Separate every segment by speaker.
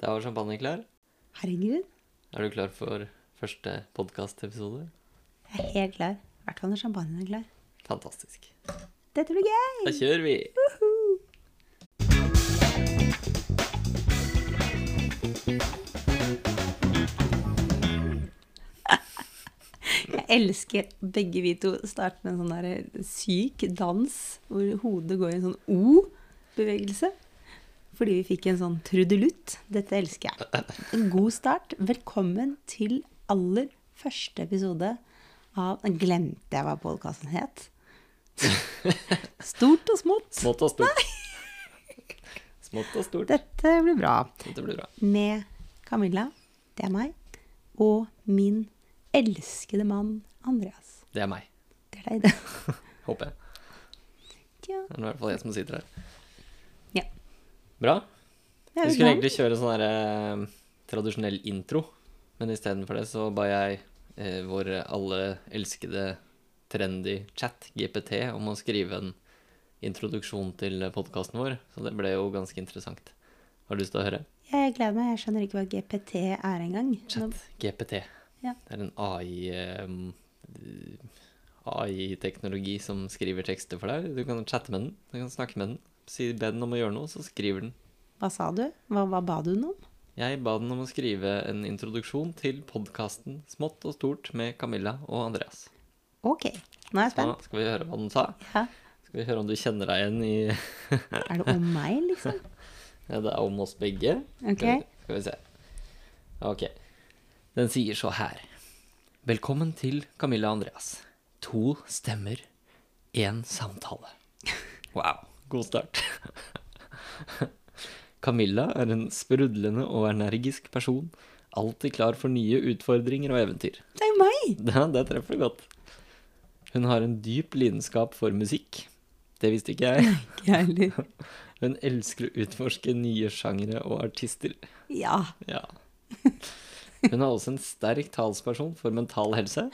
Speaker 1: Da var champagne klar.
Speaker 2: Herregud,
Speaker 1: Er du klar for første podkastepisode?
Speaker 2: jeg er helt klar. I hvert fall når champagnen er klar.
Speaker 1: Fantastisk.
Speaker 2: Dette blir gøy!
Speaker 1: Da kjører vi!
Speaker 2: Jeg elsker begge vi to starte med en sånn der syk dans hvor hodet går i en sånn O-bevegelse. Fordi vi fikk en sånn trudelutt. Dette elsker jeg. En god start. Velkommen til aller første episode av Den glemte jeg hva podkasten het. Stort og smått.
Speaker 1: Smått og stort. Smått og stort.
Speaker 2: Dette blir bra.
Speaker 1: Dette blir bra.
Speaker 2: med Camilla, det er meg, og min elskede mann Andreas.
Speaker 1: Det er meg.
Speaker 2: Det er deg, det.
Speaker 1: Håper jeg.
Speaker 2: Tja.
Speaker 1: Det er i hvert fall jeg som sitter her.
Speaker 2: Ja.
Speaker 1: Bra.
Speaker 2: Det
Speaker 1: Vi
Speaker 2: er jo
Speaker 1: skulle
Speaker 2: sånn.
Speaker 1: egentlig kjøre sånn her eh, tradisjonell intro, men istedenfor det så ba jeg eh, vår alle elskede trendy chat, GPT, om å skrive en introduksjon til podkasten vår, så det ble jo ganske interessant. Har du lyst til å høre?
Speaker 2: Jeg gleder meg. Jeg skjønner ikke hva GPT er engang. Nå-
Speaker 1: Chat, GPT.
Speaker 2: Ja.
Speaker 1: Det er en AI eh, AI-teknologi som skriver tekster for deg. Du kan chatte med den, du kan snakke med den. Si, be den om å gjøre noe, så skriver den.
Speaker 2: Hva sa du? Hva, hva ba du den om?
Speaker 1: Jeg ba den om å skrive en introduksjon til podkasten Smått og stort med Camilla og Andreas.
Speaker 2: Ok, nå er jeg
Speaker 1: Så
Speaker 2: spent.
Speaker 1: skal vi høre hva den sa.
Speaker 2: Ja.
Speaker 1: Skal vi høre om du kjenner deg igjen i
Speaker 2: Er det om meg, liksom?
Speaker 1: Ja, Det er om oss begge.
Speaker 2: Ok.
Speaker 1: Skal vi- Skal vi se. Ok. Den sier så her. Velkommen til Camilla og Andreas. To stemmer, én samtale. Wow. God start. Camilla er en sprudlende og energisk person. Alltid klar for nye utfordringer og eventyr.
Speaker 2: Det er jo meg!
Speaker 1: Ja, det treffer du godt. Hun har en dyp lidenskap for musikk. Det visste ikke jeg.
Speaker 2: Ikke jeg heller.
Speaker 1: Hun elsker å utforske nye sjangere og artister.
Speaker 2: Ja.
Speaker 1: Ja. Hun er også en sterk talsperson for mental helse.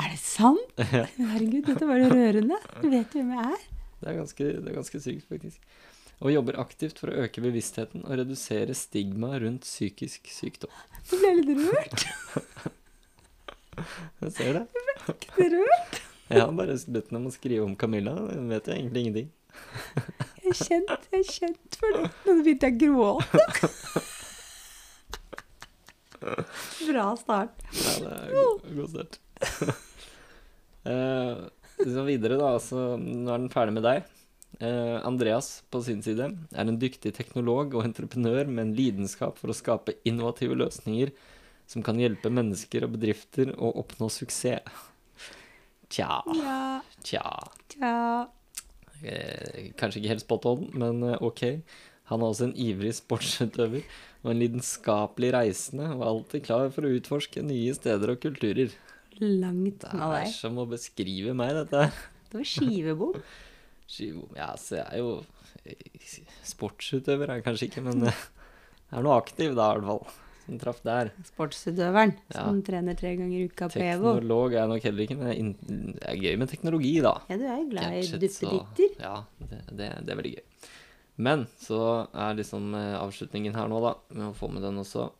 Speaker 2: Er det sant? Herregud, dette var jo rørende. Du vet jo hvem jeg er.
Speaker 1: Det er ganske, det er ganske sykt, faktisk. Og jobber aktivt for å øke bevisstheten og redusere stigma rundt psykisk sykdom.
Speaker 2: Nå ble jeg litt rørt.
Speaker 1: Jeg ser det.
Speaker 2: Ikke rørt.
Speaker 1: Jeg har bare bedt henne om å skrive om Camilla. Hun vet jo egentlig ingenting.
Speaker 2: Jeg er kjent, jeg er kjent for det. Nå begynte jeg å gråte. Bra start.
Speaker 1: Ja, det er god, god start. Eh, så videre, da. Så nå er den ferdig med deg. Eh, Andreas på sin side er en dyktig teknolog og entreprenør med en lidenskap for å skape innovative løsninger som kan hjelpe mennesker og bedrifter å oppnå suksess. Tja,
Speaker 2: Ja,
Speaker 1: tja
Speaker 2: ja.
Speaker 1: eh, Kanskje ikke helt spot on, men eh, ok. Han er også en ivrig sportsutøver og en lidenskapelig reisende og alltid klar for å utforske nye steder og kulturer.
Speaker 2: Langt
Speaker 1: Det
Speaker 2: unna
Speaker 1: er
Speaker 2: deg.
Speaker 1: som å beskrive meg, dette. her.
Speaker 2: Det var skivebom.
Speaker 1: Skivo- Ja, så jeg er jo eh, sportsutøver, er jeg kanskje ikke, men eh, jeg er noe aktiv da, i hvert fall. Som traff der.
Speaker 2: Sportsutøveren
Speaker 1: Ja.
Speaker 2: som trener tre ganger i uka på E EVO.
Speaker 1: Teknolog er jeg nok heller ikke, men jeg er inn- det er gøy med teknologi, da.
Speaker 2: Ja, du er jo glad i
Speaker 1: Gadgets og-
Speaker 2: duppeditter.
Speaker 1: Ja, det, det, det er veldig gøy. Men så er liksom eh, avslutningen her nå, da. Vi må få med den også.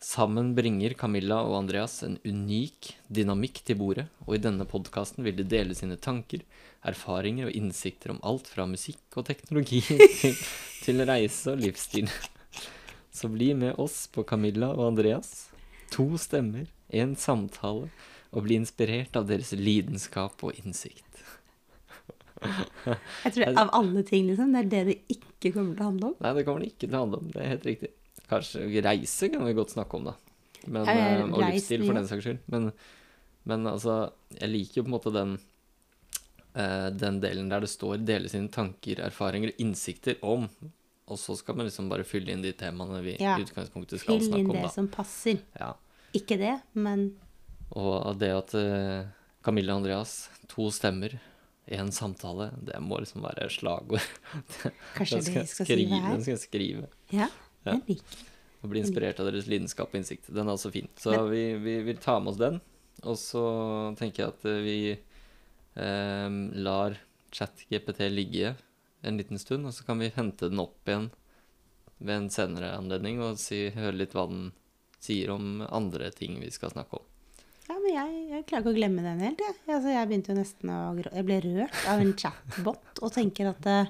Speaker 1: Sammen bringer Camilla og Andreas en unik dynamikk til bordet, og i denne podkasten vil de dele sine tanker, erfaringer og innsikter om alt fra musikk og teknologi til, til reise og livsstil. Så bli med oss på Camilla og Andreas. To stemmer, én samtale, og bli inspirert av deres lidenskap og innsikt.
Speaker 2: Jeg tror Av alle ting, liksom. Det er det det ikke kommer til å handle om.
Speaker 1: Nei, det kommer det ikke til å handle om. Det er helt riktig. Kanskje reise kan vi godt snakke om, da. Men,
Speaker 2: Ja, ja,
Speaker 1: eh, og
Speaker 2: reis
Speaker 1: livsstil,
Speaker 2: mye.
Speaker 1: for den saks skyld. Men, men altså, jeg liker jo på en måte den eh, den delen der det står 'dele sine tanker, erfaringer og innsikter om', og så skal man liksom bare fylle inn de temaene vi
Speaker 2: Ja.
Speaker 1: i utgangspunktet skal
Speaker 2: Fyll inn
Speaker 1: snakke om,
Speaker 2: det
Speaker 1: da.
Speaker 2: som passer.
Speaker 1: Ja.
Speaker 2: Ikke det, men
Speaker 1: Og det at eh, Camilla og Andreas, to stemmer, én samtale, det må liksom være slagord.
Speaker 2: kanskje
Speaker 1: Den
Speaker 2: det
Speaker 1: skal
Speaker 2: jeg skal
Speaker 1: skrive-
Speaker 2: skrive her.
Speaker 1: Den skal jeg skrive.
Speaker 2: Ja,
Speaker 1: Ja.
Speaker 2: jeg liker
Speaker 1: Og bli inspirert av deres lidenskap og innsikt. Den er også fin. Så vi, vi vil ta med oss den. Og så tenker jeg at eh, vi eh, lar ChatGPT ligge en liten stund, og så kan vi hente den opp igjen ved en senere anledning og si, høre litt hva den sier om andre ting vi skal snakke om.
Speaker 2: Ja, men jeg, jeg klarer ikke å glemme den helt, jeg. Altså, jeg begynte jo nesten å grå... Jeg ble rørt av en chatbot og tenker at eh,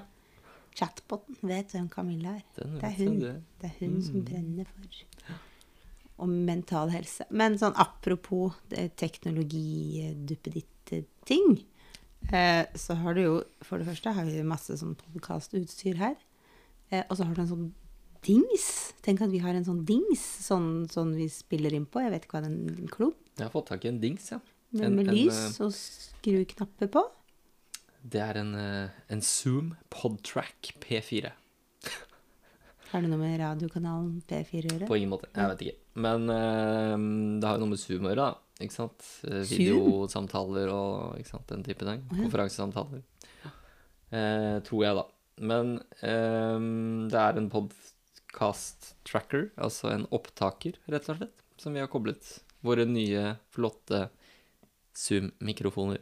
Speaker 2: chatboten vet hvem Camilla er.
Speaker 1: Den
Speaker 2: Det er
Speaker 1: vet jeg,
Speaker 2: hun.
Speaker 1: det.
Speaker 2: Det er hun som brenner for og mental helse. Men sånn apropos eh, teknologi, eh, duppeditt-ting, eh, så har du jo For det første har vi masse sånn podkastutstyr her. Eh, og så har du en sånn dings. Tenk at vi har en sånn dings, sånn, sånn vi spiller inn på. Jeg vet ikke hva den klubb
Speaker 1: Jeg har fått tak i en dings, ja.
Speaker 2: med,
Speaker 1: En- eh,
Speaker 2: med
Speaker 1: en,
Speaker 2: lys og skruknapper på.
Speaker 1: eh, Det er en, eh, en Zoom Podtrack P4.
Speaker 2: Har det noe med radiokanalen P4 å gjøre?
Speaker 1: På ingen måte. Jeg vet ikke. Men eh, det har jo noe med Zoom å gjøre, da. Ikke sant? Eh,
Speaker 2: Zoom?
Speaker 1: Videosamtaler og ikke sant? den type ting. Konferansesamtaler. Eh, tror jeg, da. Men eh, det er en podcast tracker, altså en opptaker, rett og slett, som vi har koblet våre nye, flotte Zoom-mikrofoner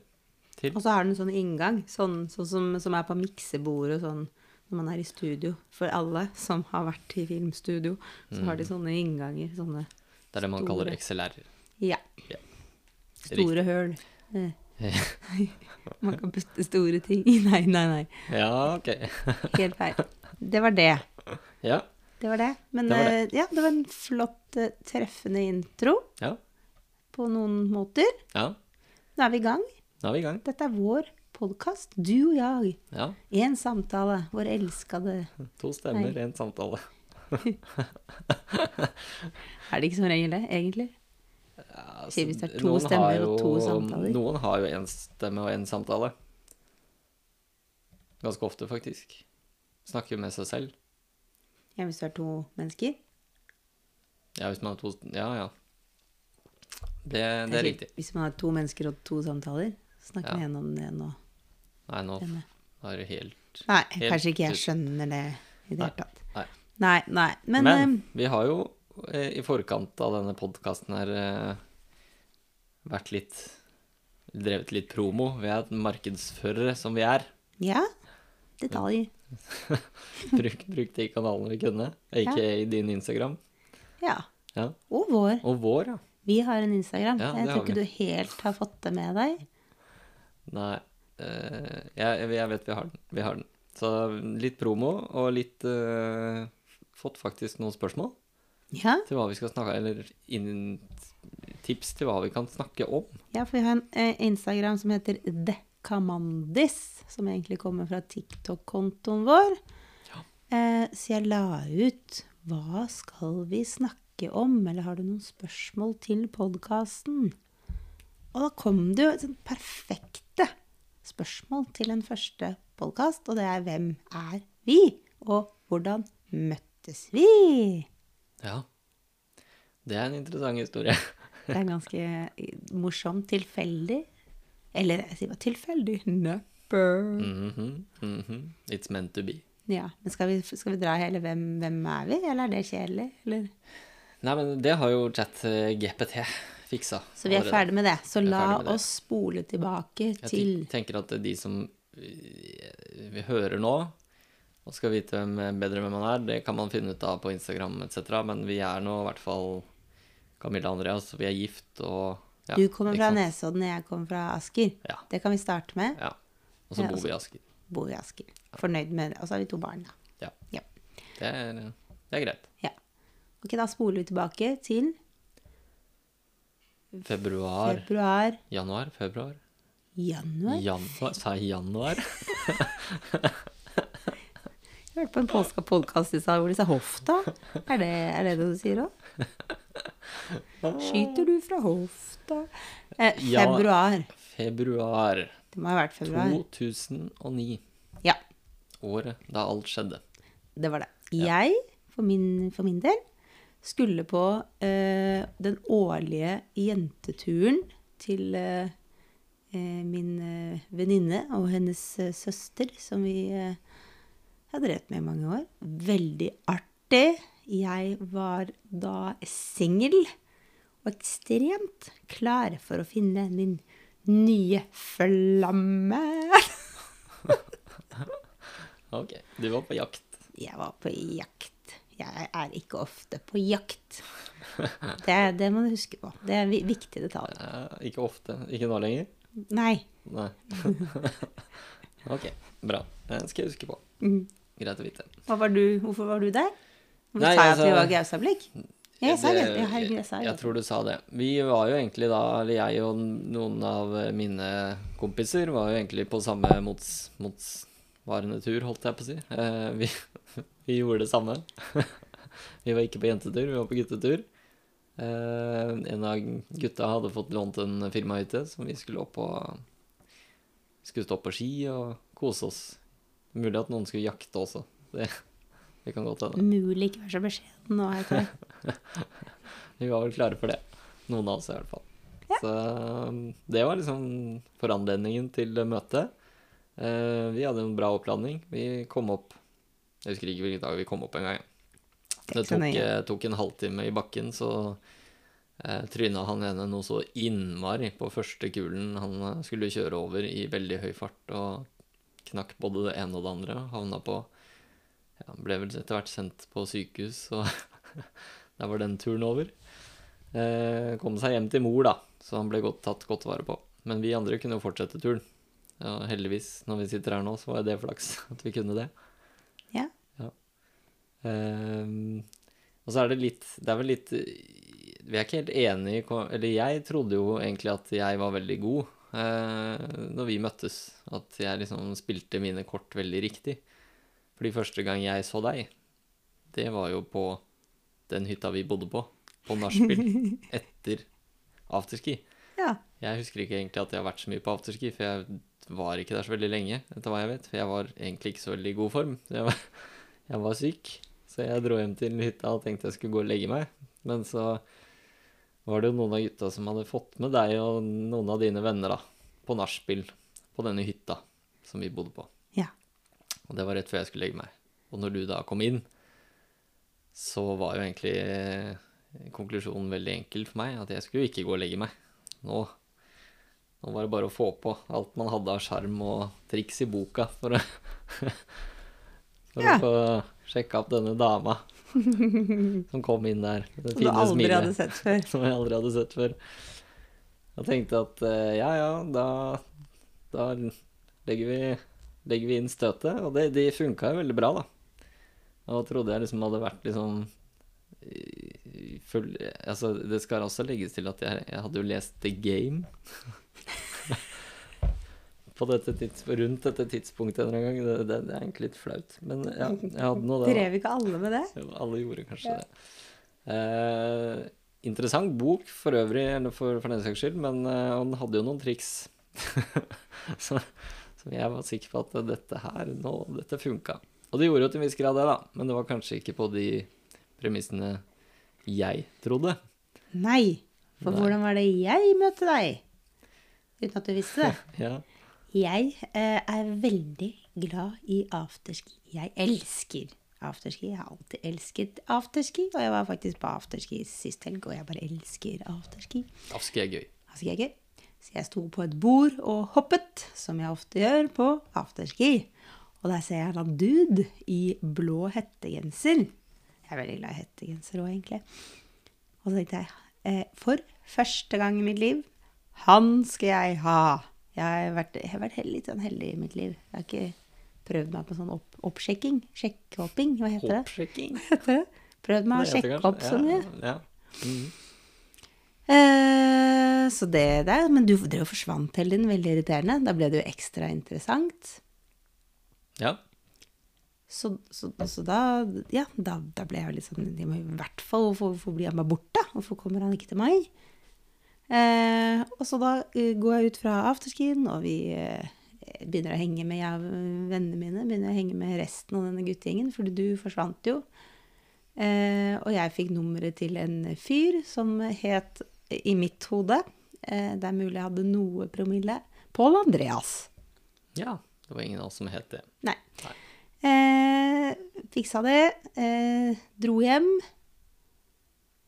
Speaker 1: til.
Speaker 2: Og så har den sånn inngang, sånn, sånn som, som er på miksebord og sånn når man er i studio. For alle som har vært i filmstudio, så har
Speaker 1: Mm.
Speaker 2: de sånne innganger. Sånne
Speaker 1: Det er det man kaller
Speaker 2: store.
Speaker 1: XLR.
Speaker 2: ja,
Speaker 1: Ja.
Speaker 2: store høl. Eh,
Speaker 1: Riktig.
Speaker 2: Man kan putte store ting i. Nei, nei, nei.
Speaker 1: Ja, ok.
Speaker 2: Helt feil. Det var det.
Speaker 1: Ja.
Speaker 2: Det var det. Men
Speaker 1: Det var
Speaker 2: eh, ja, det var en flott, eh, treffende intro
Speaker 1: Ja.
Speaker 2: på noen måter.
Speaker 1: ja.
Speaker 2: Nå er vi i gang.
Speaker 1: Nå er vi i gang.
Speaker 2: Dette er vår podkast, du og jeg.
Speaker 1: Ja.
Speaker 2: Én samtale, vår elskede
Speaker 1: To stemmer,
Speaker 2: Hei.
Speaker 1: én samtale.
Speaker 2: Er det ikke som regel det, egentlig?
Speaker 1: Ja,
Speaker 2: Sier
Speaker 1: så
Speaker 2: hvis det er to
Speaker 1: Altså, noen har
Speaker 2: stemmer og to samtaler.
Speaker 1: Noen har jo én stemme og én samtale. Ganske ofte, faktisk. Snakker med seg selv.
Speaker 2: Ja, hvis du er to mennesker.
Speaker 1: Ja, hvis man har to Ja, ja. Det, det
Speaker 2: Eller,
Speaker 1: er riktig.
Speaker 2: Hvis man har to mennesker og to samtaler, snakker
Speaker 1: Ja.
Speaker 2: vi gjennom det nå.
Speaker 1: Nei, nå
Speaker 2: Denne.
Speaker 1: er det helt
Speaker 2: Nei,
Speaker 1: Helt
Speaker 2: kanskje ikke jeg
Speaker 1: ut.
Speaker 2: skjønner det i det hele tatt.
Speaker 1: Nei.
Speaker 2: Nei, nei. Men, ehm,
Speaker 1: Men, vi har jo eh, i forkant av denne podkasten her eh, vært litt Drevet litt promo. Vi er markedsførere som vi er.
Speaker 2: eh, ja. Detaljer.
Speaker 1: Bruk, bruk de kanalene vi kunne, ikke din Instagram.
Speaker 2: Ja.
Speaker 1: Ja.
Speaker 2: Og vår.
Speaker 1: Og vår, ja.
Speaker 2: Vi har en Instagram.
Speaker 1: Ja,
Speaker 2: jeg
Speaker 1: det
Speaker 2: tror
Speaker 1: har
Speaker 2: ikke
Speaker 1: vi.
Speaker 2: du helt har fått det med deg.
Speaker 1: Nei. eh, jeg, jeg vet vi har den. Vi har den. Så litt promo og litt eh, Fått faktisk noen spørsmål
Speaker 2: Ja,
Speaker 1: til hva vi skal snakke Eller inn, tips til hva vi kan snakke om.
Speaker 2: ja for vi har en eh, Instagram som heter Dekamandis, som egentlig kommer fra TikTok-kontoen vår. Eh, så jeg la ut Hva skal vi snakke om? Eller har du noen spørsmål til podkasten? Og da kom det jo et sånt perfekte spørsmål til den første podkast, og det er Hvem er vi? Og hvordan møttes vi?
Speaker 1: Ja. Det er en interessant historie.
Speaker 2: Det er ganske eh, morsomt. Tilfeldig. Eller jeg sier bare tilfeldig. Nøpper.
Speaker 1: Mhm, mhm. It's meant to be.
Speaker 2: Ja, men skal vi, skal vi dra hele hvem, hvem er vi, eller er det kjedelig? Eller?
Speaker 1: Nei, men det har jo eh, ChatGPT fiksa.
Speaker 2: Så vi er
Speaker 1: allerede.
Speaker 2: ferdig med det. Så
Speaker 1: Vi er
Speaker 2: la
Speaker 1: ferdig med det.
Speaker 2: oss spole tilbake
Speaker 1: Jeg
Speaker 2: til
Speaker 1: tenk- tenker at de som eh, vi hører nå, og skal vite hvem bedre hvem man er, det kan man finne ut av på Instagram etc. Men vi er nå i hvert fall Camilla og Andreas, vi er gift og ja,
Speaker 2: Du kommer
Speaker 1: ikke
Speaker 2: fra
Speaker 1: sant?
Speaker 2: Nesodden, jeg kommer fra Asker.
Speaker 1: Ja.
Speaker 2: Det kan vi starte med.
Speaker 1: Ja. Og så
Speaker 2: Ja,
Speaker 1: bor
Speaker 2: altså-
Speaker 1: vi i Asker.
Speaker 2: Bor i Asker. Fornøyd med det. Og så har vi to barn, da.
Speaker 1: Ja.
Speaker 2: Ja.
Speaker 1: Det er, det er greit.
Speaker 2: ja. Ok, da spoler vi tilbake til
Speaker 1: Februar,
Speaker 2: februar,
Speaker 1: januar, februar
Speaker 2: januar.
Speaker 1: Januar? Sa jeg januar?
Speaker 2: Jeg hørte på en polska podkast i stad hvor de sa hofta. Er det er det, det du sier òg? Skyter du fra hofta eh,
Speaker 1: Ja.
Speaker 2: Februar.
Speaker 1: Februar
Speaker 2: Det må ha vært februar.
Speaker 1: 2009.
Speaker 2: Ja,
Speaker 1: Året da alt skjedde.
Speaker 2: det var det. Jeg, for min, for min del, skulle på eh, den årlige jenteturen til eh, eh, min eh, venninne og hennes eh, søster, som vi eh, har drevet med i mange år. Veldig artig. Jeg var da singel og ekstremt klar for å finne min nye flamme.
Speaker 1: Ok. Du var på jakt.
Speaker 2: Jeg var på jakt. Jeg er ikke ofte på jakt. Det, det må du huske på. Det er en vi- viktig detalj.
Speaker 1: Eh, ikke ofte. Ikke nå lenger?
Speaker 2: Nei.
Speaker 1: Nei. ok, bra. Det skal jeg huske på.
Speaker 2: Mm.
Speaker 1: Greit å vite.
Speaker 2: Hva var du, hvorfor var du der? Hvorfor
Speaker 1: Nei,
Speaker 2: sa jeg at vi
Speaker 1: altså-
Speaker 2: var Gaustablikk? Ja, jeg sa
Speaker 1: Det-
Speaker 2: Gaustablikk. Ja, herregud, jeg sa
Speaker 1: jeg
Speaker 2: Gaustablikk.
Speaker 1: tror du sa det. Vi var jo egentlig da, eller jeg og noen av mine kompiser, var jo egentlig på samme mots, motsvarende tur, holdt jeg på å si. Eh, vi, vi gjorde det samme. vi var ikke på jentetur, vi var på guttetur. Eh, en av gutta hadde fått lånt en firmahytte som vi skulle opp på Skulle stå på ski og kose oss. Mulig at noen skulle jakte også. Det, det kan godt hende.
Speaker 2: Mulig ikke være så beskjeden nå, heter det.
Speaker 1: Vi var vel klare for det. Noen av oss i hvert fall. Så um, det var liksom foranledningen til det møtet. Eh, vi hadde en bra oppladning. Vi kom opp Jeg husker ikke hvilken dag vi kom opp engang. Det
Speaker 2: ikke så
Speaker 1: tok,
Speaker 2: nøye.
Speaker 1: eh, tok en halvtime i bakken, så eh, tryna han ene noe så innmari på første kulen han eh, skulle kjøre over i veldig høy fart, og knakk både det ene og det andre. Havna på ja, Ble vel etter hvert sendt på sykehus, så der var den turen over. Eh, kom seg hjem til mor, da, så han ble godt, tatt godt vare på. Men vi andre kunne jo fortsette turen. Ja, heldigvis, når vi sitter her nå, så var det flaks at vi kunne det.
Speaker 2: Ja.
Speaker 1: Ehm, og så er det litt Det er vel litt Vi er ikke helt enige i hva- Eller jeg trodde jo egentlig at jeg var veldig god eh, når vi møttes. At jeg liksom spilte mine kort veldig riktig. Fordi første gang jeg så deg, det var jo på den hytta vi bodde på. På nachspiel etter afterski.
Speaker 2: Ja.
Speaker 1: Jeg husker ikke egentlig at jeg har vært så mye på afterski, for jeg var ikke der så veldig lenge, etter hva jeg vet. For jeg var egentlig ikke så veldig i god form. Så jeg, var, jeg var syk, så jeg dro hjem til hytta og tenkte jeg skulle gå og legge meg. Men så var det jo noen av gutta som hadde fått med deg og noen av dine venner da, på nachspiel på denne hytta som vi bodde på.
Speaker 2: Ja.
Speaker 1: Og det var rett før jeg skulle legge meg. Og når du da kom inn, så var jo egentlig eh, konklusjonen veldig enkel for meg, at jeg skulle jo ikke gå og legge meg. Nå, nå var det bare å få på alt man hadde av skjerm og triks i boka for å, for
Speaker 2: Ja.
Speaker 1: å få sjekka opp denne dama som kom inn der. med Det
Speaker 2: Som du
Speaker 1: fine
Speaker 2: aldri
Speaker 1: smilet
Speaker 2: hadde sett før.
Speaker 1: som jeg aldri hadde sett før. Jeg tenkte at eh, ja, ja, da, da legger, vi, legger vi inn støtet. Og det, det funka jo veldig bra, da. Og trodde jeg liksom hadde vært liksom i- i full, altså, Det skal også legges til at jeg, jeg hadde jo lest The Game. På dette tids, rundt dette tidspunktet en eller annen gang. Det, det, det er egentlig litt flaut. Men ja, jeg hadde nå det. da.
Speaker 2: Drev ikke alle med det?
Speaker 1: Ja, Alle gjorde kanskje det. Eh, interessant bok for øvrig, eller for, for den saks skyld, men eh, han hadde jo noen triks. Så, som jeg var sikker på at dette her nå, dette funka. Og det gjorde jo til en viss grad det, da, men det var kanskje ikke på de premissene jeg trodde.
Speaker 2: Nei. For
Speaker 1: Nei.
Speaker 2: hvordan var det jeg møtte deg? Uten at du visste det.
Speaker 1: Ja,
Speaker 2: Jeg eh, er veldig glad i afterski. Jeg elsker afterski. Jeg har alltid elsket afterski, og jeg var faktisk på afterski sist helg, og jeg bare elsker afterski.
Speaker 1: Afske er gøy.
Speaker 2: Altså, jeg er gøy. Så jeg sto på et bord og hoppet, som jeg ofte gjør på afterski. Og der ser jeg en eller annen dude i blå hettegenser. Jeg er veldig glad i hettegenser òg, egentlig. Og så tenkte jeg, eh, for første gang i mitt liv, han skal jeg ha. Jeg har vært, jeg har vært hel- litt sånn heldig i mitt liv. Jeg har ikke prøvd meg på sånn opp, oppsjekking. Sjekkhopping, hva heter det?
Speaker 1: Hoppsjekking.
Speaker 2: Hva heter det? Prøvd meg
Speaker 1: Det
Speaker 2: å
Speaker 1: heter
Speaker 2: sjekke
Speaker 1: kanskje-
Speaker 2: opp sånn, så mye.
Speaker 1: Ja, ja.
Speaker 2: Eh, så det der, men du drev og forsvant hele tiden, veldig irriterende. Da ble det jo ekstra interessant.
Speaker 1: ja.
Speaker 2: Så, så, så da, ja, da, da ble jeg jo litt sånn de må I hvert fall, hvorfor, hvorfor blir han bare borte? Hvorfor kommer han ikke til meg? Eh, og så da eh, går jeg ut fra afterskien, og vi eh, begynner å henge med jeg og vennene mine. Begynner å henge med resten av denne guttegjengen, fordi du forsvant jo. Eh, og jeg fikk nummeret til en fyr som het, i mitt hode eh, Det er mulig jeg hadde noe promille. Pål Andreas.
Speaker 1: Ja. Det var ingen av oss som het det.
Speaker 2: Nei. Eh, fiksa det. Eh, dro hjem.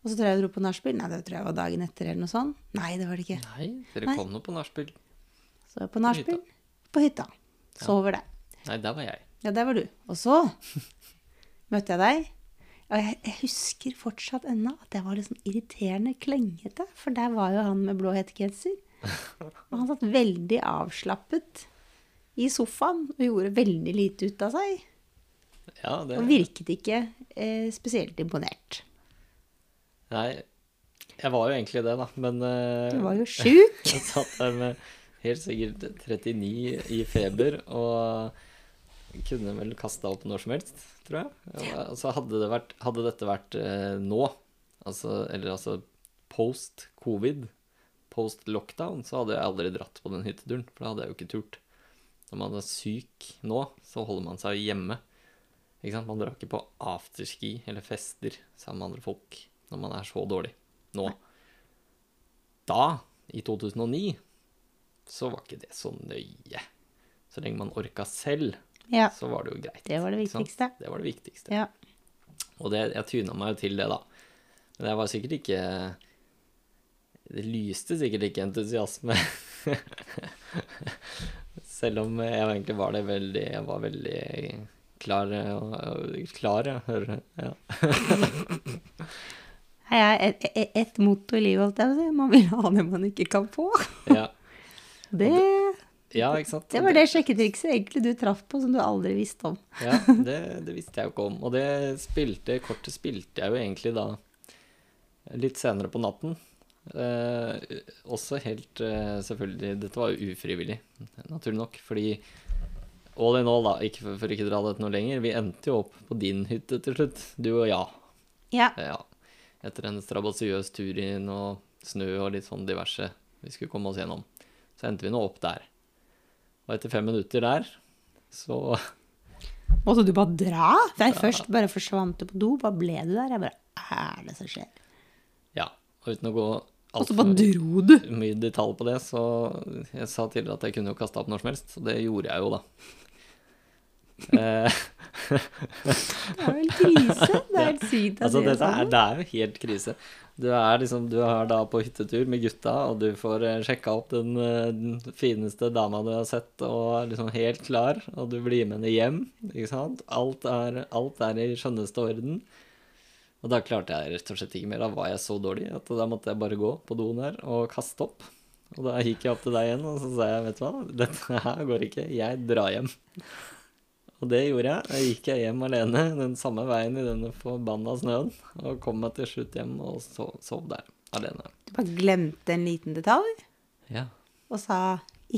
Speaker 2: Og så tror jeg jeg dro på nachspiel. Nei, det tror jeg var dagen etter eller noe sånt. Nei, det var det ikke.
Speaker 1: Nei, dere
Speaker 2: Nei.
Speaker 1: kom nå på nachspiel.
Speaker 2: Så jeg var på nachspiel. På hytta. Sover der.
Speaker 1: Nei, der var jeg.
Speaker 2: Ja, der var du. Og så møtte jeg deg. Og jeg, jeg husker fortsatt ennå at jeg var litt sånn irriterende klengete. For der var jo han med blå hettegenser. Og han satt veldig avslappet i sofaen og gjorde veldig lite ut av seg.
Speaker 1: Ja, det
Speaker 2: Og virket ikke eh, spesielt imponert.
Speaker 1: Nei, jeg var jo egentlig det, da, men eh,
Speaker 2: Du var jo sjuk.
Speaker 1: Jeg satt der med helt sikkert 39 i feber og kunne vel kasta opp når som helst, tror jeg. Og altså, hadde, det vært, hadde dette vært eh, nå, altså, eller altså post covid, post lockdown, så hadde jeg aldri dratt på den hytteturen, for da hadde jeg jo ikke turt. Når man er syk nå, så holder man seg hjemme. Ikke sant? Man drar ikke på afterski eller fester sammen med andre folk når man er så dårlig. Nå. Da, i 2009, så var ikke det så nøye. Så lenge man orka selv,
Speaker 2: Ja,
Speaker 1: så var det jo greit.
Speaker 2: det var det
Speaker 1: ikke sant?
Speaker 2: viktigste.
Speaker 1: Det var det viktigste.
Speaker 2: Ja.
Speaker 1: Og det, jeg tuna meg jo til det, da. Men jeg var sikkert ikke Det lyste sikkert ikke entusiasme. Selv om jeg egentlig var det veldig Jeg var veldig klar og, og klar, ja. Hører, ja.
Speaker 2: Her er et, et, et motto i livet, holdt jeg på å si. Man vil ha det man ikke kan få.
Speaker 1: ja.
Speaker 2: Det,
Speaker 1: Ja, ikke sant?
Speaker 2: det var det sjekketrikset egentlig du traff på, som du aldri visste om.
Speaker 1: Ja, det, det visste jeg jo ikke om. Og det spilte, kortet spilte jeg jo egentlig da litt senere på natten. Eh, også helt eh, selvfølgelig Dette var jo ufrivillig, naturlig nok. Fordi all in all, da, ikke for, for ikke å dra dette noe lenger, vi endte jo opp på din hytte til slutt, du og jeg.
Speaker 2: Ja,
Speaker 1: Ja. Etter en strabasiøs tur i noe snø og litt sånn diverse vi skulle komme oss gjennom. Så endte vi nå opp der. Og etter fem minutter der, så
Speaker 2: Måtte du bare dra? Nei, først bare forsvant du på do, bare ble du der. Jeg bare Hva er det som skjer?
Speaker 1: Ja, og uten å gå
Speaker 2: Og så
Speaker 1: altfor
Speaker 2: bare dro du.
Speaker 1: mye i detalj på det, så jeg sa tidligere at jeg kunne jo kasta opp når som helst, og det gjorde jeg jo, da. eh,
Speaker 2: Det er vel krise. Det er helt sykt. at
Speaker 1: altså,
Speaker 2: det
Speaker 1: dette
Speaker 2: er
Speaker 1: er,
Speaker 2: sånn.
Speaker 1: det er jo helt krise. Du er liksom, du er da på hyttetur med gutta, og du får eh, sjekka opp den, eh, den fineste dama du har sett, og er liksom helt klar, og du blir med henne hjem, ikke sant? Alt er, alt er i skjønneste orden. Og da klarte jeg rett og slett ikke mer. Da var jeg så dårlig at da måtte jeg bare gå på doen her og kaste opp. Og da gikk jeg opp til deg igjen og så sa jeg, vet du hva, dette her går ikke, jeg drar hjem. Og det gjorde jeg. Da gikk jeg hjem alene den samme veien i denne forbanna snøen. Og kom meg til slutt hjem og so- sov der alene.
Speaker 2: Du bare glemte en liten detalj
Speaker 1: Ja.
Speaker 2: og sa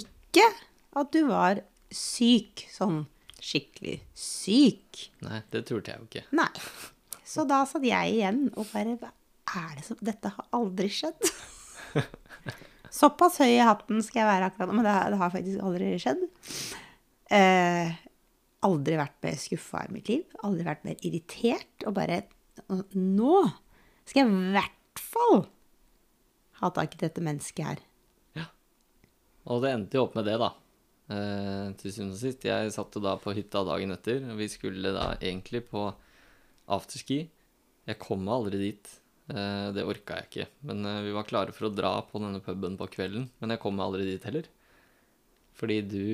Speaker 2: ikke at du var syk. Sånn skikkelig syk.
Speaker 1: Nei, det turte jeg jo ikke.
Speaker 2: Nei. Så da satt jeg igjen og bare Hva er det som Dette har aldri skjedd. Såpass høy i hatten skal jeg være akkurat nå, men det, det har faktisk aldri skjedd. Eh, aldri vært mer skuffa i mitt liv. Aldri vært mer irritert. Og bare Nå skal jeg i hvert fall ha tak i dette mennesket her.
Speaker 1: Og det endte jo opp med det, da. Eh, til syvende og sist. Jeg satt jo da på hytta dagen etter. og Vi skulle da egentlig på afterski. Jeg kom meg aldri dit. Eh, det orka jeg ikke. Men eh, vi var klare for å dra på denne puben på kvelden. Men jeg kom meg aldri dit heller. Fordi du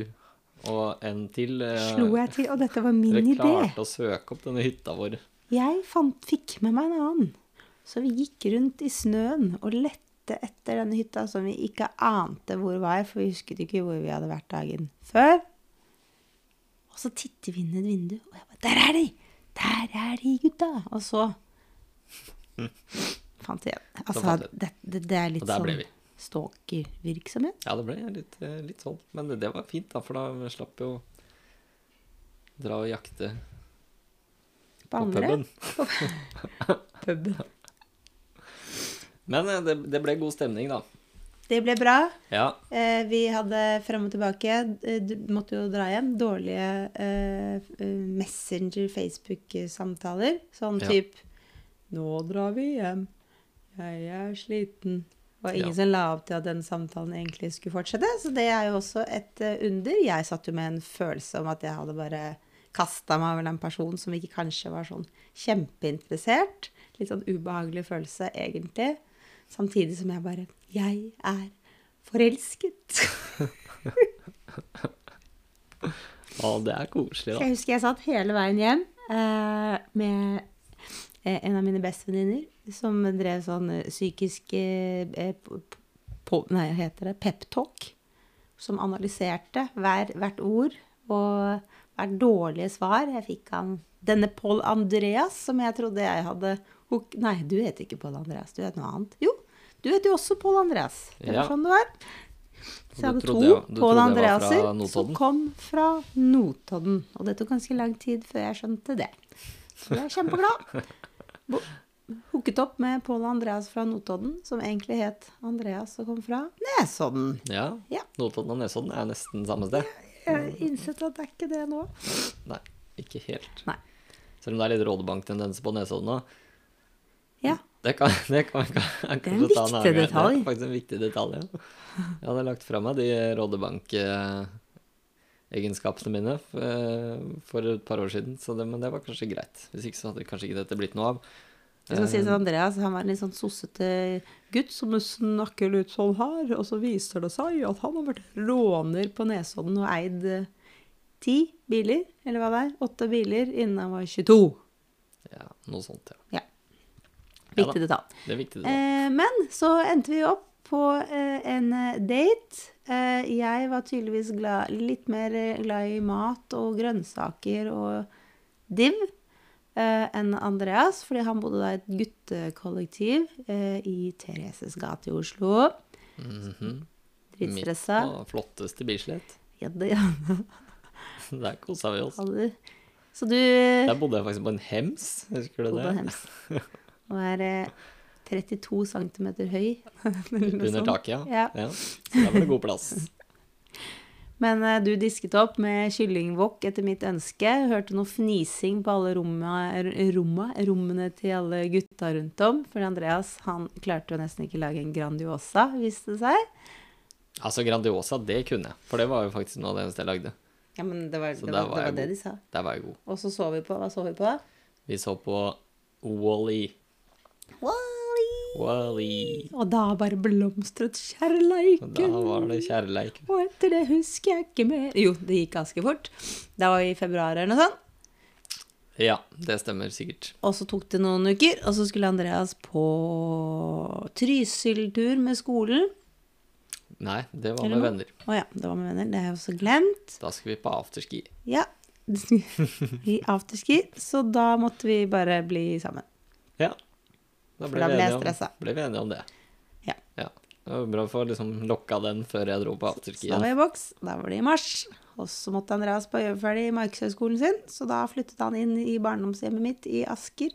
Speaker 1: og en til eh,
Speaker 2: Slo jeg til, og dette var min
Speaker 1: Dere
Speaker 2: idé.
Speaker 1: klarte å søke opp denne hytta vår.
Speaker 2: Jeg fant, fikk med meg en annen. Så vi gikk rundt i snøen og lette etter denne hytta som vi ikke ante hvor var, for vi husket ikke hvor vi hadde vært dagen før. Og så titter vi inn i et vindu, og jeg bare Der er de! Der er de, gutta! Og så fant vi igjen. Altså,
Speaker 1: fant vi
Speaker 2: det, det, det er litt
Speaker 1: Og der ble
Speaker 2: sånn
Speaker 1: vi.
Speaker 2: stalkervirksomhet.
Speaker 1: Ja, det ble litt, eh, litt sånn. Men det, det var fint, da, for da slapp jeg å dra og jakte
Speaker 2: På
Speaker 1: på
Speaker 2: andre.
Speaker 1: puben.
Speaker 2: Puben.
Speaker 1: Men eh, det, det ble god stemning, da.
Speaker 2: Det ble bra.
Speaker 1: Ja.
Speaker 2: Eh, vi hadde frem og tilbake. eh, Du måtte jo dra hjem. Dårlige eh, f- eh, Messenger, Facebook-samtaler. Sånn
Speaker 1: Ja.
Speaker 2: typ 'Nå drar vi hjem. Jeg er sliten.' Og ingen
Speaker 1: Ja.
Speaker 2: som la opp til at den samtalen egentlig skulle fortsette. Så det er jo også et eh, under. Jeg satt jo med en følelse om at jeg hadde bare kasta meg over en person som ikke kanskje var sånn kjempeinteressert. Litt sånn ubehagelig følelse, egentlig. Samtidig som jeg bare Jeg er forelsket.
Speaker 1: Og det er koselig,
Speaker 2: Jeg
Speaker 1: da.
Speaker 2: husker jeg satt hele veien hjem eh, med eh, en av mine bestevenninner som drev sånn eh, psykisk eh, eh, p- p- på, Nei, hva heter det? Peptalk. Som analyserte hver, hvert ord og hvert dårlige svar jeg fikk av denne Pål Andreas, som jeg trodde jeg hadde hok- Nei, du heter ikke Pål Andreas, du heter noe annet. Jo, du heter jo også Pål Andreas. Det var
Speaker 1: Ja.
Speaker 2: sånn det var. Så
Speaker 1: Du
Speaker 2: jeg hadde
Speaker 1: trodde
Speaker 2: to
Speaker 1: jeg- du trodde jeg
Speaker 2: Pål
Speaker 1: var fra
Speaker 2: Andreaser som
Speaker 1: Notodden?
Speaker 2: kom fra Notodden. Og det tok ganske lang tid før jeg skjønte det. Så jeg er kjempeglad. Bo- Hooket opp med Pål Andreas fra Notodden, som egentlig het Andreas og kom fra Nesodden.
Speaker 1: Ja.
Speaker 2: Ja.
Speaker 1: Notodden og Nesodden er nesten samme sted.
Speaker 2: Jeg har innsett at det er ikke det nå.
Speaker 1: Nei, ikke helt.
Speaker 2: Nei.
Speaker 1: Selv om det er litt rådebanktendenser på Nesodden òg.
Speaker 2: Ja.
Speaker 1: Det kan, det kan, kan, kan
Speaker 2: Det er en
Speaker 1: kanskje ta annen
Speaker 2: viktig
Speaker 1: gang.
Speaker 2: detalj.
Speaker 1: Det er faktisk en viktig detalj, ja. Jeg hadde lagt fra meg de rådebankegenskapene mine eh, for et par år siden, så det, men det var kanskje greit. Hvis ikke så hadde kanskje ikke dette blitt noe av.
Speaker 2: Det skal
Speaker 1: Eh,
Speaker 2: sies at Andreas han var en litt sånn sossete gutt som snakker litt sånn her, og så viser det seg at han har vært råner på Nesodden og eid eh, ti biler, eller hva det er, åtte biler innen han var 22.
Speaker 1: Ja, noe sånt, ja.
Speaker 2: Ja.
Speaker 1: Ja da.
Speaker 2: Viktig detalj.
Speaker 1: Det er viktig. Det,
Speaker 2: Eh, men så endte vi opp på eh, en eh, date. Eh, jeg var tydeligvis glad, litt mer eh, glad i mat og grønnsaker og div eh, enn Andreas, fordi han bodde da i et guttekollektiv eh, i Thereses gate i Oslo.
Speaker 1: Mhm.
Speaker 2: Dritstressa.
Speaker 1: Mitt på flotteste Bislett.
Speaker 2: Ja, det, ja,
Speaker 1: Der kosa vi oss.
Speaker 2: alle. Så du
Speaker 1: Der bodde jeg faktisk på en hems, husker du
Speaker 2: bodde på
Speaker 1: det?
Speaker 2: Hems og er eh, 32 cm høy. eller noe
Speaker 1: Under
Speaker 2: sånt.
Speaker 1: taket, ja.
Speaker 2: liksom. Ja.
Speaker 1: Så der var det god plass.
Speaker 2: Men eh, du disket opp med kyllingwok etter mitt ønske. Hørte noe fnising på alle romma, r- romma, rommene til alle gutta rundt om. For Andreas han klarte jo nesten ikke lage en Grandiosa, viste det seg.
Speaker 1: Altså Grandiosa, det kunne jeg, for det var jo faktisk noe av det eneste jeg lagde.
Speaker 2: Ja, men det var
Speaker 1: Så
Speaker 2: det,
Speaker 1: der
Speaker 2: var,
Speaker 1: var jeg
Speaker 2: det, var det
Speaker 1: god.
Speaker 2: de sa.
Speaker 1: Der var jeg god.
Speaker 2: Og så så vi på Hva så vi på?
Speaker 1: Vi så på Wall-E.
Speaker 2: Wall-E!
Speaker 1: Wall-E.
Speaker 2: Og da bare
Speaker 1: Og
Speaker 2: blomstret
Speaker 1: Da
Speaker 2: kjærleiken.
Speaker 1: var det kjærleik.
Speaker 2: Og etter det husker jeg ikke mer Jo, det gikk ganske fort. Det var i februar eller noe sånt.
Speaker 1: Ja, det stemmer sikkert.
Speaker 2: Og så tok det noen uker, og så skulle Andreas på Trysil-tur med skolen.
Speaker 1: Nei, det var
Speaker 2: Eller
Speaker 1: med
Speaker 2: noe?
Speaker 1: venner.
Speaker 2: Å ja, det var med venner. Det har jeg også glemt.
Speaker 1: Da skal vi på afterski.
Speaker 2: Ja. I afterski. Så da måtte vi bare bli sammen.
Speaker 1: Ja. Da
Speaker 2: da
Speaker 1: vi
Speaker 2: ble jeg
Speaker 1: enige om-
Speaker 2: stressa.
Speaker 1: Ble vi enige om det.
Speaker 2: Ja.
Speaker 1: ja. Det var bra å få liksom lokka den før jeg dro på afterski.
Speaker 2: Så da var jeg i boks. Da var det i mars. Og så måtte Andreas på gjøre ferdig markedshøgskolen sin, så da flyttet han inn i barndomshjemmet mitt i Asker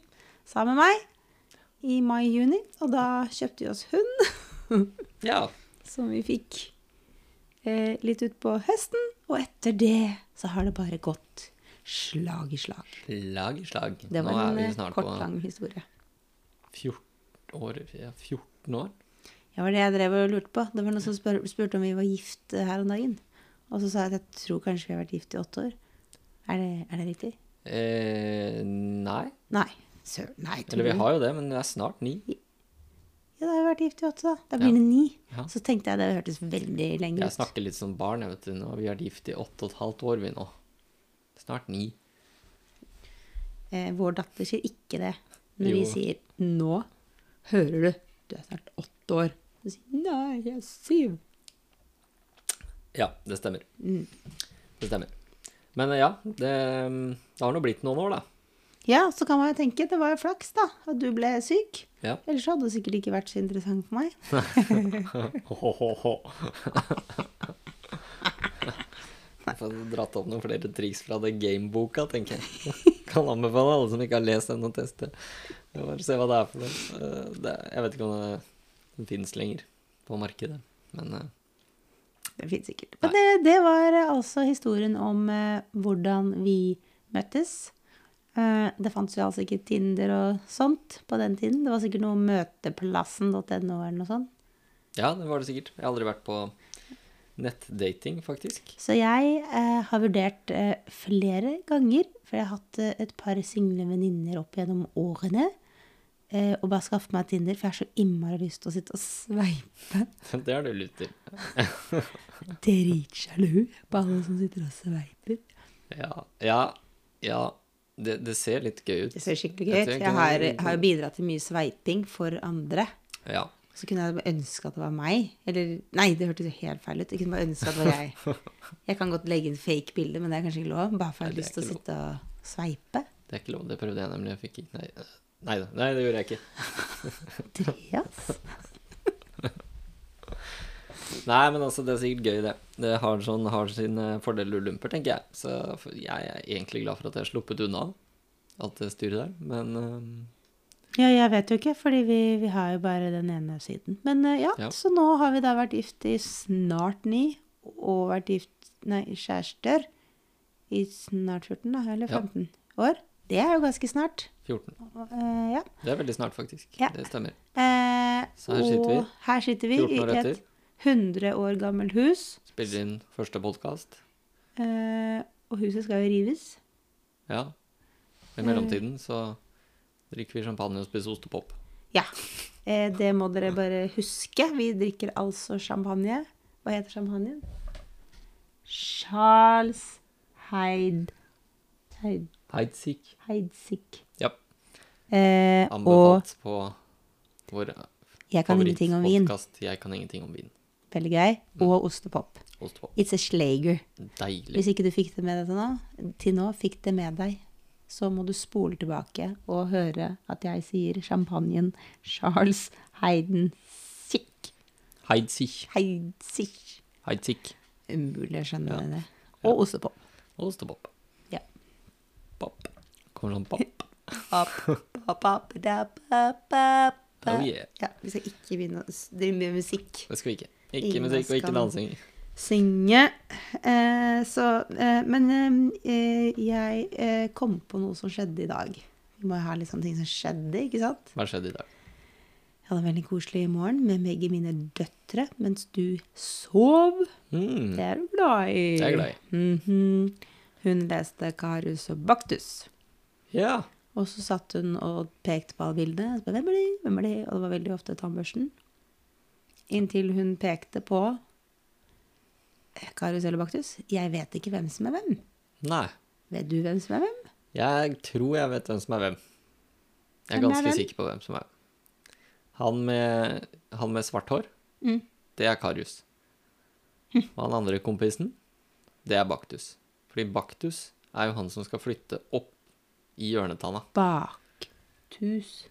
Speaker 2: sammen med meg i mai-juni. Og da kjøpte vi oss hund,
Speaker 1: Ja.
Speaker 2: som vi fikk eh, litt utpå høsten. Og etter det så har det bare gått slag i slag.
Speaker 1: Slag i slag.
Speaker 2: Det
Speaker 1: Nå
Speaker 2: var
Speaker 1: er
Speaker 2: en
Speaker 1: vi
Speaker 2: eh,
Speaker 1: snart
Speaker 2: kort,
Speaker 1: på
Speaker 2: lang historie.
Speaker 1: 14 år, ja, 14 år.
Speaker 2: Ja, det var det jeg drev og lurte på. Det var noen som spør, spurte om vi var gift eh, her om dagen. Og så sa jeg at jeg tror kanskje vi har vært gift i åtte år. Er det, er det riktig?
Speaker 1: Eh, nei.
Speaker 2: Nei. Sør, nei, tror
Speaker 1: Eller vi
Speaker 2: du?
Speaker 1: har jo det, men det er snart ni.
Speaker 2: Ja, da har vi vært gift i åtte, da. Da blir det ni.
Speaker 1: Ja.
Speaker 2: Så tenkte jeg det hørtes veldig lenge
Speaker 1: Jeg
Speaker 2: ut.
Speaker 1: snakker litt som barn, jeg vet du. Nå. Vi har vært gift i åtte og et halvt år, vi nå. Snart ni.
Speaker 2: Eh, vår datter sier ikke det. Når vi
Speaker 1: Jo.
Speaker 2: sier 'nå hører du, du er snart åtte år', så sier hun 'nei, jeg er syv'.
Speaker 1: Ja, det stemmer. Det stemmer. Men eh, ja, det, det har nå blitt noen år, da.
Speaker 2: Ja, så kan man jo tenke, det var jo flaks, da, at du ble syk.
Speaker 1: Ja.
Speaker 2: Ellers hadde det sikkert ikke vært så interessant for meg.
Speaker 1: Ho-ho-ho. Jeg får dratt opp noen flere triks fra det gameboka, tenker jeg. Kan anbefale alle som ikke har lest den, å teste. Jeg Bare se hva det er for noe. Eh, Det, jeg vet ikke om det- den fins lenger på markedet, men eh,
Speaker 2: Det finnes sikkert. Men det, det var eh, altså historien om eh, hvordan vi møttes. Eh, det fantes jo altså ikke Tinder og sånt på den tiden. Det var sikkert noe møteplassen.no eller noe sånt.
Speaker 1: ja, det var det sikkert. Jeg har aldri vært på nettdating, faktisk.
Speaker 2: Så jeg eh, har vurdert eh, flere ganger, for jeg har hatt eh, et par single venninner opp gjennom årene, eh, og bare skaffet meg Tinder, for jeg har så innmari lyst til å sitte og sveipe
Speaker 1: Det har du lyst til.
Speaker 2: dritsjalu på alle som sitter og sveiper.
Speaker 1: Ja, ja, ja. Det, det ser litt gøy ut.
Speaker 3: Det ser skikkelig gøy
Speaker 1: Jeg
Speaker 3: ut.
Speaker 1: tror
Speaker 3: Jeg
Speaker 1: ikke
Speaker 3: har,
Speaker 1: det-
Speaker 3: har jo bidratt til mye sveiping for andre.
Speaker 1: Ja.
Speaker 3: Så kunne jeg ønske at det var meg. Eller nei, det hørtes jo helt feil ut. Jeg kunne bare ønske at det var jeg. Jeg kan godt legge inn fake bilder, men det er kanskje ikke lov. Bare for jeg har
Speaker 1: Nei, det er
Speaker 3: lyst til å
Speaker 1: ikke
Speaker 3: sitte og sveipe.
Speaker 1: Det er ikke lov. Det prøvde jeg nemlig. Jeg fikk ikke Nei, nei da. Nei, det gjorde jeg ikke.
Speaker 3: Andreas.
Speaker 1: Nei, men altså, det er sikkert gøy, det. Det har, sånn, har sine fordeler og lumper, tenker jeg. Så for- jeg er egentlig glad for at jeg har sluppet unna alt det styret der. Men eh, øhm,
Speaker 2: Ja, jeg vet jo ikke, fordi vi, vi har jo bare den ene siden. Men eh, ja,
Speaker 1: Ja.
Speaker 2: så nå har vi da vært gift i snart ni, og vært gift, nei, kjærester i snart 14 da, eller
Speaker 1: Ja.
Speaker 2: 15 år. Det er jo ganske snart.
Speaker 1: 14.
Speaker 2: Eh, ja.
Speaker 1: Det er veldig snart, faktisk.
Speaker 2: Ja.
Speaker 1: Det stemmer.
Speaker 2: Eh,
Speaker 1: Så her sitter vi,
Speaker 2: og her sitter vi
Speaker 1: 14
Speaker 2: i
Speaker 1: år etter.
Speaker 2: et 100 år gammelt hus,
Speaker 1: Spiller inn første podkast.
Speaker 2: eh, og huset skal jo rives.
Speaker 1: Ja. I
Speaker 2: Eh.
Speaker 1: mellomtiden så drikker vi champagne og spiser ostepop.
Speaker 2: Ja, eh, det må dere bare huske. Vi drikker altså champagne. Hva heter champagnen? Charles Heid... Heid
Speaker 1: Heidsik.
Speaker 2: Heidsik.
Speaker 1: Ja.
Speaker 2: Eh, og
Speaker 1: Anbefalt på vår
Speaker 2: jeg kan ingenting om vin.
Speaker 1: favorittpodkast. Jeg kan ingenting om vin.
Speaker 2: Veldig grei. Og ostepop.
Speaker 1: Ostepop.
Speaker 2: It's a slager.
Speaker 1: Deilig.
Speaker 2: Hvis ikke du fikk det med deg til nå, til nå fikk det med deg, så må du spole tilbake og høre at jeg sier champagnen Charles Heidensick.
Speaker 1: Heidsik.
Speaker 2: Heidsick.
Speaker 1: Heidsik.
Speaker 2: Umulig å skjønne det.
Speaker 1: Ja.
Speaker 2: Og ostepop.
Speaker 1: Ostepop.
Speaker 2: Ja.
Speaker 1: Pop. Kommer sånn pop.
Speaker 2: Pop, pop, pop, da, pop, pop,
Speaker 1: Oh
Speaker 2: pop.
Speaker 1: yeah.
Speaker 2: Ja, vi skal ikke begynne å s- drive med musikk.
Speaker 1: Det skal vi ikke. Ikke
Speaker 2: Ingen
Speaker 1: musikk og ikke
Speaker 2: skam.
Speaker 1: dansing.
Speaker 2: Synge. Eh, så, eh, men eh, jeg eh, kom på noe som skjedde i dag. Vi må jo ha litt sånne ting som skjedde, ikke sant?
Speaker 1: Hva skjedde i dag?
Speaker 2: Jeg hadde en veldig koselig morgen med begge mine døtre mens du sov.
Speaker 1: Mm.
Speaker 2: Det er du glad i.
Speaker 1: Det er jeg glad i.
Speaker 2: Mhm. Hun leste Karus og Baktus.
Speaker 1: Ja.
Speaker 2: Og så satt hun og pekte på alle bildene. Og så bare, hvem er de? Hvem er de? Og det var veldig ofte tannbørsten. Inntil hun pekte på Karus eller Baktus. Jeg vet ikke hvem som er hvem.
Speaker 1: Nei.
Speaker 2: Vet du hvem som er hvem?
Speaker 1: Jeg tror jeg vet hvem som er hvem. Jeg er
Speaker 2: Hvem er
Speaker 1: ganske
Speaker 2: hvem?
Speaker 1: sikker på hvem som er. Han med, han med svart hår,
Speaker 2: Mm. Hm.
Speaker 1: det er Karius. Og han andre kompisen, det er Baktus. Fordi Baktus er jo han som skal flytte opp i hjørnetanna.
Speaker 2: Baktus.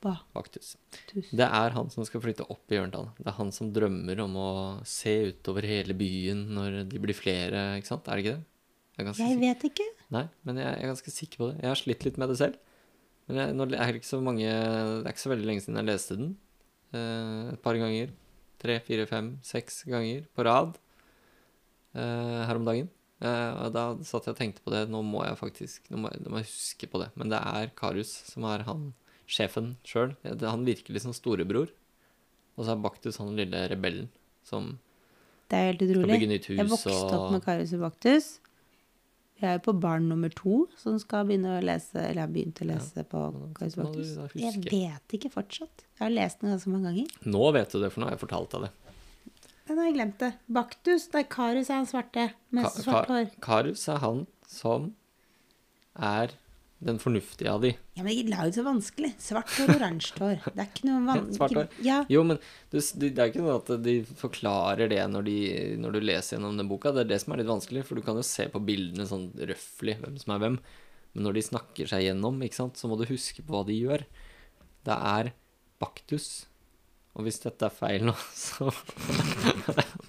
Speaker 1: Baktus.
Speaker 2: Baktus.
Speaker 1: Det er han som skal flytte opp i hjørnetanna. Det er han som drømmer om å se utover hele byen når de blir flere, ikke sant? Er det ikke det? Jeg er ganske
Speaker 2: Jeg
Speaker 1: sikker.
Speaker 2: vet ikke.
Speaker 1: Nei, men jeg, jeg er ganske sikker på det. Jeg har slitt litt med det selv. Men jeg, nå er det ikke så mange Det er ikke så veldig lenge siden jeg leste den. Eh, et par ganger. Tre, fire, fem, seks ganger på rad eh, her om dagen. Eh, og da satt jeg og tenkte på det. Nå må jeg faktisk nå må, jeg- nå må jeg huske på det. Men det er Karius som er han sjefen sjøl. Han virker litt som storebror. Og så er Baktus han lille rebellen som
Speaker 2: Det er helt
Speaker 1: skal bygge
Speaker 2: utrolig.
Speaker 1: nytt hus
Speaker 2: Jeg vokste opp med Karus og Baktus. Vi er jo på barn nummer to som skal begynne å lese, eller har begynt å lese på
Speaker 1: og
Speaker 2: Karus og
Speaker 1: Må du
Speaker 2: Baktus.
Speaker 1: da
Speaker 2: Jeg
Speaker 1: huske.
Speaker 2: vet ikke fortsatt. Jeg har lest den ganske mange ganger.
Speaker 1: Nå vet du det, for nå har jeg fortalt deg det.
Speaker 2: Den har jeg glemt det. Baktus. Nei, Karus er han svarte. Med
Speaker 1: Ka- Ka-
Speaker 2: svart hår.
Speaker 1: Karus er han som er den fornuftige av de.
Speaker 2: Ja, men La ut så vanskelig. Svart hår, oransje hår. Det er ikke noe van...
Speaker 1: Ja, svart hår.
Speaker 2: Ja.
Speaker 1: Jo, men du, s- de- det er ikke sånn at de forklarer det når, de, når du leser gjennom den boka. Det er det som er litt vanskelig, for du kan jo se på bildene sånn røffelig hvem som er hvem. Men når de snakker seg gjennom, ikke sant, så må du huske på hva de gjør. Det er Baktus. Og hvis dette er feil nå, så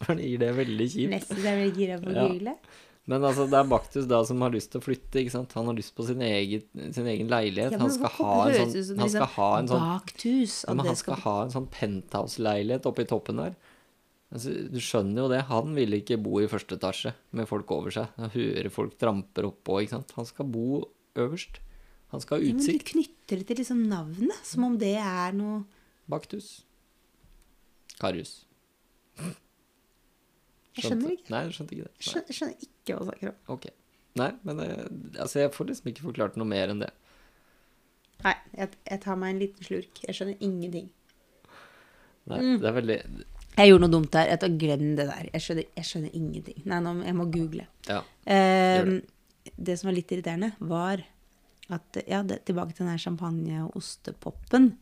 Speaker 1: blir det veldig kjipt.
Speaker 2: Nesten så jeg blir gira på å
Speaker 1: Ja.
Speaker 2: google.
Speaker 1: Men altså, det er Baktus da som har lyst til å flytte, ikke sant? Han har lyst på sin egen, sin egen leilighet.
Speaker 2: Ja, men
Speaker 1: han skal
Speaker 2: hvorfor
Speaker 1: ha en
Speaker 2: høres
Speaker 1: sånn,
Speaker 2: det ut som
Speaker 1: han skal
Speaker 2: liksom
Speaker 1: ha en sånn,
Speaker 2: Baktus.
Speaker 1: ja,
Speaker 2: At
Speaker 1: men
Speaker 2: det
Speaker 1: han skal
Speaker 2: skal
Speaker 1: ha en sånn penthouse-leilighet oppe i toppen der. Altså, du skjønner jo det. Han vil ikke bo i første etasje med folk over seg. Han hører folk tramper oppå, ikke sant? Han skal bo øverst. Han skal ha
Speaker 2: ja, men du
Speaker 1: utsikt.
Speaker 2: knytter det til liksom navnet, som om det er noe
Speaker 1: Baktus. Karius.
Speaker 2: Jeg skjønner
Speaker 1: Skjønte-
Speaker 2: ikke.
Speaker 1: Nei, jeg skjønte ikke det. Nei.
Speaker 2: Skjønner, skjønner ikke hva du snakker om.
Speaker 1: Ok. Nei, men eh, altså, jeg får liksom ikke forklart noe mer enn det.
Speaker 2: Nei, jeg, jeg tar meg en liten slurk. Jeg skjønner ingenting.
Speaker 1: Nei,
Speaker 2: Mm.
Speaker 1: det er veldig
Speaker 2: Jeg gjorde noe dumt der. Jeg tar, glem det der. Jeg skjønner, jeg skjønner ingenting. Nei, nå, jeg må google.
Speaker 1: Ja.
Speaker 2: Eh,
Speaker 1: Gjør
Speaker 2: det som var litt irriterende, var at, ja, det, tilbake til den her champagne- og ostepoppen.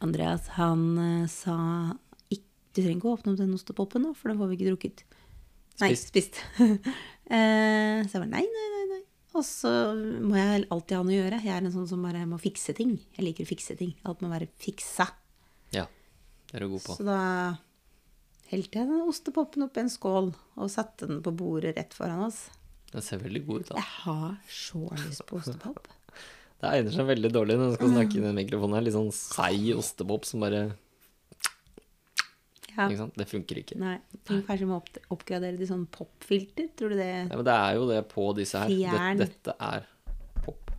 Speaker 2: Andreas, han eh, sa «Ikk- Du trenger ikke å åpne opp den ostepoppen nå, for den får vi ikke drukket. Nei,
Speaker 1: Spist.
Speaker 2: spist. Eh, så jeg bare nei, nei, nei. nei. Og så må jeg alltid ha noe å gjøre. Jeg er en sånn som bare må fikse ting. Jeg liker å fikse ting. Alt må være fiksa.
Speaker 1: Ja. Det er du god på.
Speaker 2: Så da helte jeg den ostepoppen oppi en skål og satte den på bordet rett foran oss.
Speaker 1: Den ser veldig god ut. da.
Speaker 2: Jeg har så lyst på ostepop.
Speaker 1: Det egner seg veldig dårlig når du skal
Speaker 2: Mm.
Speaker 1: snakke inn i mikrofonen. her. Litt sånn seig ostepop som bare
Speaker 2: Ja.
Speaker 1: ikke sant? Det funker ikke.
Speaker 2: Nei, tenk kanskje vi må opp oppgradere til sånn popfilter. Tror du det
Speaker 1: Ja, men det er jo det på disse her.
Speaker 2: Fjern.
Speaker 1: Dette, dette er pop.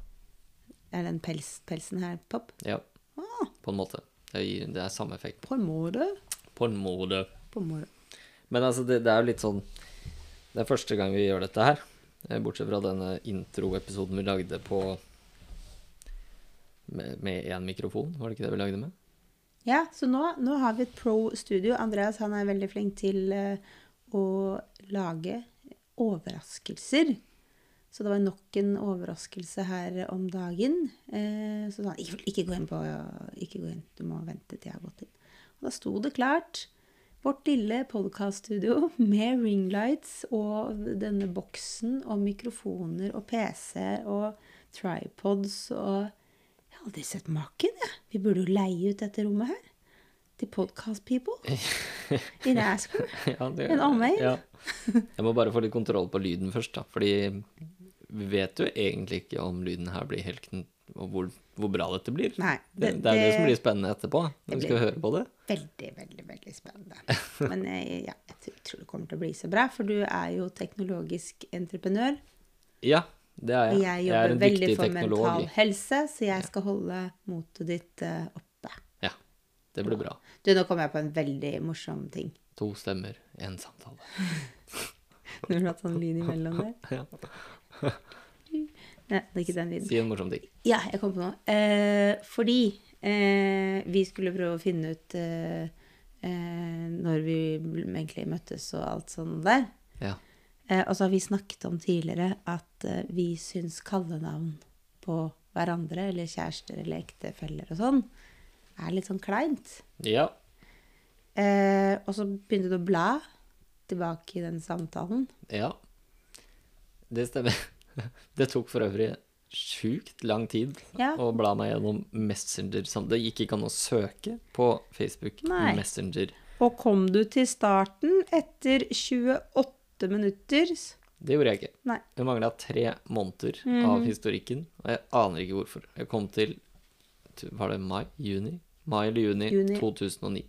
Speaker 2: er den pels, pelsen her pop?
Speaker 1: Ja,
Speaker 2: Ah,
Speaker 1: på en måte. Det gir- det er samme effekt.
Speaker 2: på en måte.
Speaker 1: På en måte.
Speaker 2: På en måte.
Speaker 1: Men altså, det, det er jo litt sånn Det er første gang vi gjør dette her. eh, Bortsett fra denne introepisoden vi lagde på med med én mikrofon, var det ikke det vi lagde med?
Speaker 2: Ja, så nå, nå har vi et pro studio. Andreas han er veldig flink til eh, å lage overraskelser. Så det var nok en overraskelse her om dagen. Eh, så sa han ikke, ikke gå inn på Ikke gå inn, du må vente til jeg har gått inn. Og da sto det klart. Vårt lille podkaststudio med ringlights og denne boksen og mikrofoner og PC og tripods og Jeg har aldri sett maken, jeg. Vi burde jo leie ut dette rommet her. Til podcast people. I Rascal.
Speaker 1: ja, det,
Speaker 2: En omvei.
Speaker 1: Ja. Jeg må bare få litt kontroll på lyden først, da. Fordi vi vet jo egentlig ikke om lyden her blir helt kn- Og hvor, hvor bra dette blir.
Speaker 2: Nei,
Speaker 1: det,
Speaker 2: det-
Speaker 1: det er det som
Speaker 2: det-
Speaker 1: blir spennende etterpå. Når vi
Speaker 2: det
Speaker 1: skal høre på det.
Speaker 2: Veldig, veldig veldig spennende. Men jeg, ja, jeg tror- tror det kommer til å bli så bra, for du er jo teknologisk entreprenør.
Speaker 1: Ja, det er
Speaker 2: Og
Speaker 1: jeg.
Speaker 2: jeg
Speaker 1: Jeg
Speaker 2: jobber
Speaker 1: er en
Speaker 2: veldig
Speaker 1: dyktig
Speaker 2: for mental
Speaker 1: teknolog.
Speaker 2: helse, så jeg skal holde motet ditt eh, oppe.
Speaker 1: Ja, det blir bra.
Speaker 2: Du, nå kom jeg på en veldig morsom ting.
Speaker 1: To stemmer, én samtale.
Speaker 2: Når du har hatt sånn lyd imellom der.
Speaker 1: Ja.
Speaker 2: Nei, det er ikke den lyden.
Speaker 1: Si en morsom ting.
Speaker 2: Ja, jeg kom på noe. Eh, fordi eh, vi skulle prøve å finne ut eh, eh, når vi egentlig møttes og alt sånn der.
Speaker 1: Ja.
Speaker 2: Eh, og så har vi snakket om tidligere at eh, vi syns kallenavn på hverandre, eller kjærester eller ektefeller og sånn, er litt sånn kleint.
Speaker 1: ja.
Speaker 2: Eh, og så begynte du å bla tilbake i den samtalen.
Speaker 1: Ja. Det stemmer. Det tok for øvrig sjukt lang tid
Speaker 2: Ja.
Speaker 1: å bla meg gjennom Messenger. sam- Det gikk ikke an å søke på Facebook
Speaker 2: Nei.
Speaker 1: Messenger.
Speaker 2: Og kom du til starten etter 28 minutter?
Speaker 1: Det gjorde jeg ikke.
Speaker 2: Nei.
Speaker 1: Det mangla tre måneder
Speaker 2: Mhm.
Speaker 1: av historikken, og jeg aner ikke hvorfor. Jeg kom til tu- Var det mai? Juni? Mai eller juni,
Speaker 2: Juni.
Speaker 1: 2009.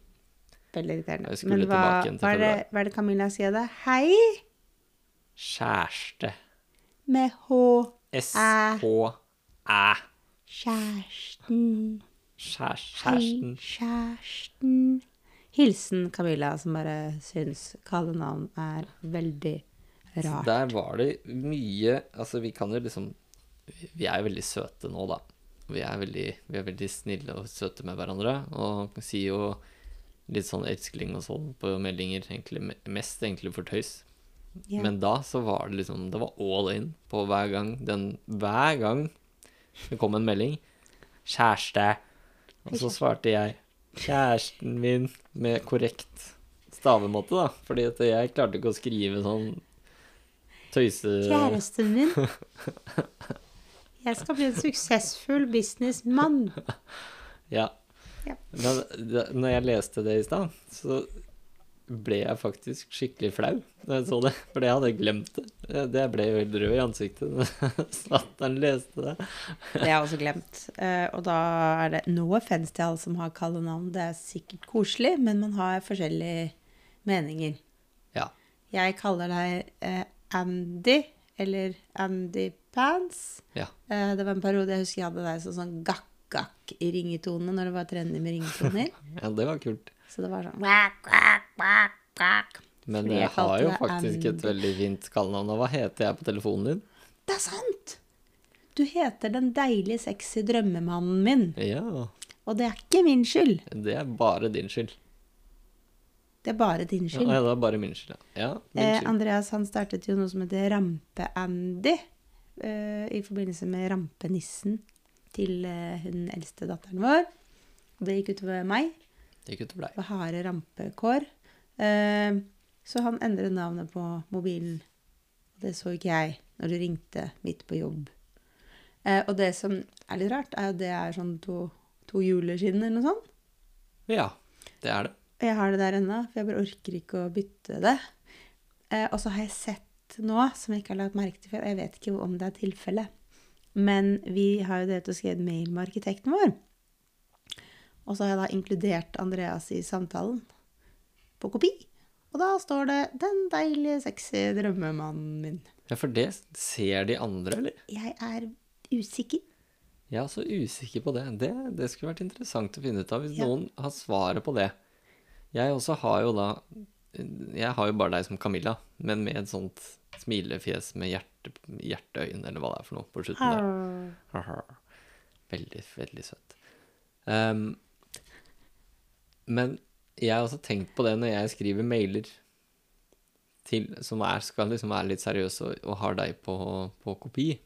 Speaker 2: Veldig irriterende.
Speaker 1: Jeg skulle
Speaker 2: Men hva,
Speaker 1: tilbake igjen til
Speaker 2: hva, er det,
Speaker 1: februar.
Speaker 2: hva er det Camilla sier da? Hei
Speaker 1: Kjæreste.
Speaker 2: med H.
Speaker 1: Eh. S-H-æ.
Speaker 2: Kjæresten.
Speaker 1: Kjær-
Speaker 2: Hei,
Speaker 1: Kjæresten.
Speaker 2: kjæresten. Hilsen Camilla, som bare syns kallenavn er veldig
Speaker 1: Så
Speaker 2: rart.
Speaker 1: Der var det mye Altså, vi kan jo liksom Vi er jo veldig søte nå, da. Vi er veldig, vi er veldig snille og søte med hverandre. Og sier jo litt sånn elskling og sånn på meldinger, egentlig me- mest egentlig for tøys.
Speaker 2: Ja.
Speaker 1: Men da så var det liksom Det var all in på hver gang den Hver gang det kom en melding 'Kjæreste', og så svarte jeg 'Kjæresten min' med korrekt stavemåte, da. Fordi at jeg klarte ikke å skrive sånn eh, tøyse...
Speaker 2: Kjæresten min. Jeg skal bli en suksessfull businessmann.
Speaker 1: Ja.
Speaker 2: Ja.
Speaker 1: Men det, når jeg leste det i stad, så ble jeg faktisk skikkelig flau når jeg så det. For jeg hadde glemt det. Det- Jeg ble helt rød i ansiktet da Satan leste det.
Speaker 2: Det har jeg også glemt. Eh, og da er det no offense til alle som har kallenavn. Det er sikkert koselig, men man har forskjellige meninger.
Speaker 1: Ja.
Speaker 2: Jeg kaller deg eh, Andy, eller Andy Pants.
Speaker 1: ja.
Speaker 2: Eh, det var en periode jeg husker jeg hadde deg som sånn gakk-gakk i ringetone når det var trendy med ringetoner.
Speaker 1: Ja, det var kult.
Speaker 2: Så det var sånn «Wak, wak, wak, wak».
Speaker 1: Men
Speaker 2: Fordi
Speaker 1: jeg,
Speaker 2: jeg
Speaker 1: har
Speaker 2: kalte
Speaker 1: jo
Speaker 2: deg
Speaker 1: faktisk et
Speaker 2: Andy.
Speaker 1: veldig fint kallenavn. Og hva heter jeg på telefonen din?
Speaker 2: Det er sant! Du heter den deilige, sexy drømmemannen min.
Speaker 1: Ja,
Speaker 2: Og det er ikke min skyld.
Speaker 1: det er bare din skyld.
Speaker 2: Det er bare din
Speaker 1: Ja,
Speaker 2: skyld.
Speaker 1: det er bare min skyld, ja. ja min
Speaker 2: Eh,
Speaker 1: skyld.
Speaker 2: Andreas han startet jo noe som heter Rampe-Andy. eh, i forbindelse med rampenissen til eh, hun eldste datteren vår. Og det gikk utover meg.
Speaker 1: Det gikk utover deg.
Speaker 2: Det var harde rampekår. Eh, så han endret navnet på mobilen. Og det så ikke jeg når det ringte midt på jobb. Eh, og det som er litt rart, er jo at det er sånn to, to juleskinn eller noe sånt.
Speaker 1: Ja, det er det.
Speaker 2: Og jeg har det der ennå, for jeg bare orker ikke å bytte det. Eh, og så har jeg sett noe som jeg ikke har lagt merke til før, og jeg vet ikke om det er tilfellet. Men vi har jo drevet og skrevet mail med arkitekten vår. Og så har jeg da inkludert Andreas i samtalen på kopi. Og da står det 'Den deilige, sexy drømmemannen min'.
Speaker 1: Ja, for det ser de andre, eller?
Speaker 2: Jeg er usikker.
Speaker 1: Jeg er så usikker på det. Det, det skulle vært interessant å finne ut av hvis
Speaker 2: Ja.
Speaker 1: noen har svaret på det. Jeg også har jo da Jeg har jo bare deg som Camilla, men med et sånt smilefjes med hjerte, hjerteøyne, eller hva det er for noe, på slutten der. Haha. Veldig, veldig søtt. Ehm, men jeg har også tenkt på det når jeg skriver mailer til, som er, skal liksom være litt seriøse og, og har deg på, på kopi.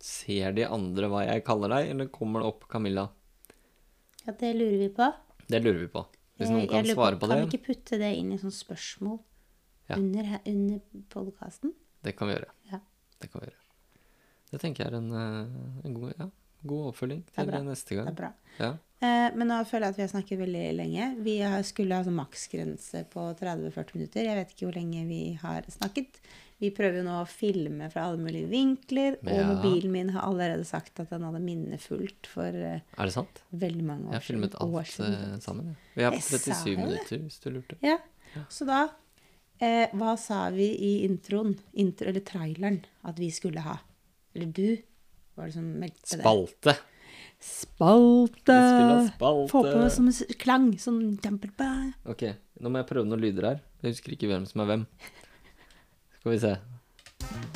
Speaker 1: Ser de andre hva jeg kaller deg, eller kommer det opp Camilla?
Speaker 2: Ja, det lurer vi på.
Speaker 1: Det lurer vi på. Hvis
Speaker 2: Jeg-
Speaker 1: noen kan
Speaker 2: Eh, jeg lurer
Speaker 1: svare på det,
Speaker 2: Kan vi ikke putte det inn i sånn spørsmål
Speaker 1: Ja.
Speaker 2: under, he- under podkasten?
Speaker 1: det kan vi gjøre.
Speaker 2: Ja.
Speaker 1: Det kan vi gjøre. Det tenker jeg er en, eh, en god, ja, god oppfølging
Speaker 2: er
Speaker 1: til
Speaker 2: bra.
Speaker 1: neste
Speaker 2: Det er
Speaker 1: gang.
Speaker 2: bra.
Speaker 1: Ja.
Speaker 2: Eh, men nå føler jeg at vi har snakket veldig lenge. Vi har- skulle ha sånn maksgrense på 30-40 minutter. Jeg vet ikke hvor lenge vi har snakket. Vi prøver jo nå å filme fra alle mulige vinkler, og
Speaker 1: Ja.
Speaker 2: mobilen min har allerede sagt at den hadde minnefullt for eh,
Speaker 1: Er det sant?
Speaker 2: veldig mange
Speaker 1: Jeg
Speaker 2: år
Speaker 1: har filmet
Speaker 2: siden. År
Speaker 1: alt
Speaker 2: siden.
Speaker 1: eh, sammen. jeg. Vi har
Speaker 2: Jeg sa
Speaker 1: 37
Speaker 2: det.
Speaker 1: minutter, hvis du lurte.
Speaker 2: Ja. Så da eh, Hva sa vi i introen, intro, eller traileren, at vi skulle ha? Eller du var det som meldte det?
Speaker 1: Spalte!
Speaker 2: Spalte!
Speaker 1: Vi skulle ha spalte.
Speaker 2: Få på noe som s- klang. Sånn damperba.
Speaker 1: Ok, nå må jeg prøve noen lyder her. Jeg husker ikke hvem som er hvem. Skal vi se.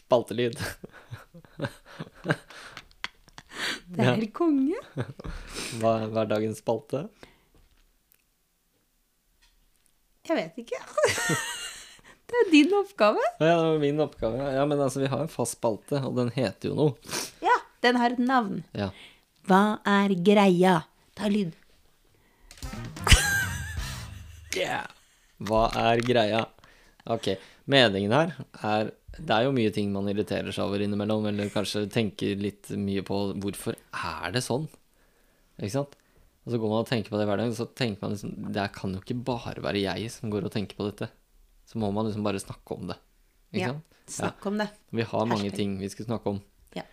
Speaker 1: Spaltelyd.
Speaker 2: Det er konge.
Speaker 1: Hva, hva er dagens spalte?
Speaker 2: Jeg vet ikke. det er din oppgave.
Speaker 1: Å Ja, det var min oppgave. Ja, men altså, vi har en fast spalte, og den heter jo noe.
Speaker 2: Ja, den har et navn.
Speaker 1: Ja.
Speaker 2: Hva er greia? Ta lyd.
Speaker 1: Hva er greia? Ok, meningen her er Det er jo mye ting man irriterer seg over innimellom, eller kanskje tenker litt mye på hvorfor er det sånn? Ikke sant? Og så går man og tenker på det hver dag, og så tenker man liksom Det kan jo ikke bare være jeg som går og tenker på dette. Så må man liksom bare snakke om det. Ikke
Speaker 2: Ja,
Speaker 1: sant?
Speaker 2: Snakk om det.
Speaker 1: Vi har mange
Speaker 2: Hashtag.
Speaker 1: ting vi skal snakke om.
Speaker 2: Ja.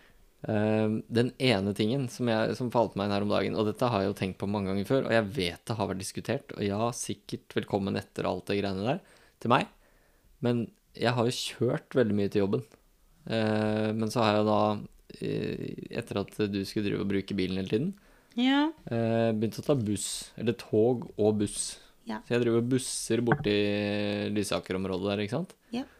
Speaker 1: Eh, den ene tingen som, jeg, som falt meg inn her om dagen, og dette har jeg jo tenkt på mange ganger før, og jeg vet det har vært diskutert, og ja, sikkert velkommen etter og alt det greiene der til meg, men jeg har jo kjørt veldig mye til jobben. Eh, men så har jeg da, eh, etter at du skulle drive og bruke bilen hele tiden,
Speaker 2: Ja.
Speaker 1: eh, begynt å ta buss, eller tog og buss.
Speaker 2: Ja.
Speaker 1: Så jeg driver og busser borti Lysaker-området der, ikke sant?
Speaker 2: Ja.
Speaker 1: Og så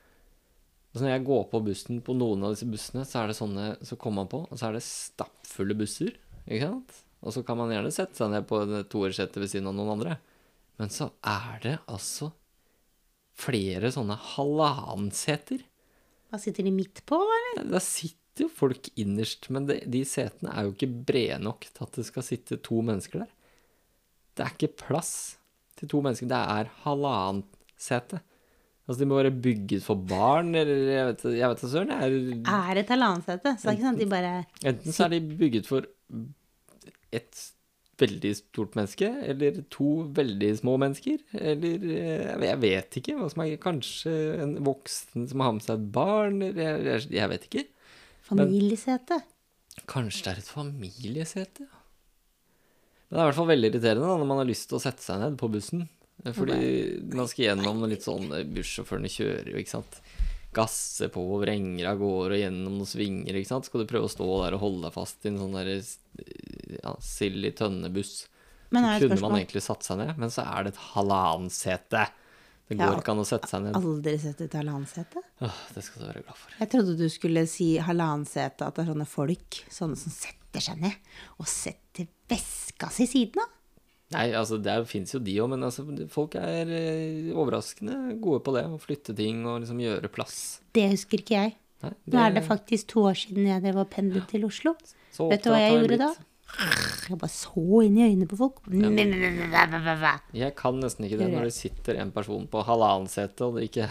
Speaker 1: Altså, når jeg går på bussen på noen av disse bussene, så er det sånne, så kommer man på, og så er det stappfulle busser, ikke sant? Og så kan man gjerne sette seg ned på en toersete ved siden av noen andre. Men så er det altså flere sånne halvannenseter.
Speaker 2: Hva sitter de midt på, eller?
Speaker 1: Da sitter jo folk innerst, men de, de setene er jo ikke brede nok til at det skal sitte to mennesker der. Det er ikke plass til to mennesker. Det er halvannet sete. Altså, de må være bygget for barn, eller jeg vet, jeg vet da søren. jeg Er,
Speaker 2: Er det et halvannsete? Så det er ikke sånn at de bare
Speaker 1: enten så er de bygget for et veldig stort menneske, eller to veldig små mennesker, eller eh, jeg vet ikke hva som er Kanskje en voksen som har med seg et barn, eller jeg, jeg, jeg vet ikke.
Speaker 2: Familiesete.
Speaker 1: Kanskje det er et familiesete, ja. Men det er i hvert fall veldig irriterende da, når man har lyst til å sette seg ned på bussen. Eh, Fordi man skal gjennom litt sånn eh, Bussjåførene kjører jo, ikke sant. Gasser på og vrenger av gårde og gjennom noen svinger, ikke sant. Skal du prøve å stå der og holde deg fast i en sånn derre ja, sild i tønne-buss?
Speaker 2: Men har jeg et
Speaker 1: Kunne man
Speaker 2: spørsmål?
Speaker 1: egentlig satt seg ned, men så er det et halvannsete. Det
Speaker 2: Ja,
Speaker 1: går ikke an å sette seg ned.
Speaker 2: Aldri sett et halvannsete?
Speaker 1: Åh, det skal du være glad for.
Speaker 2: Jeg trodde du skulle si halvannsete, at det er sånne folk, sånne som setter seg ned og setter veska si siden av.
Speaker 1: Nei, altså det fins jo de òg, men altså, folk er eh, overraskende gode på det. Å flytte ting og liksom gjøre plass.
Speaker 2: Det husker ikke jeg.
Speaker 1: Nei,
Speaker 2: Nå er det faktisk to år siden jeg drev og pendlet til Oslo.
Speaker 1: så
Speaker 2: Vet du hva
Speaker 1: opptatt
Speaker 2: jeg
Speaker 1: har
Speaker 2: gjorde da?
Speaker 1: blitt.
Speaker 2: Jeg bare så inn i øynene på folk. Men
Speaker 1: Jeg kan nesten ikke det
Speaker 4: Gjør jeg.
Speaker 1: når det sitter en person på halvannen sete, og det ikke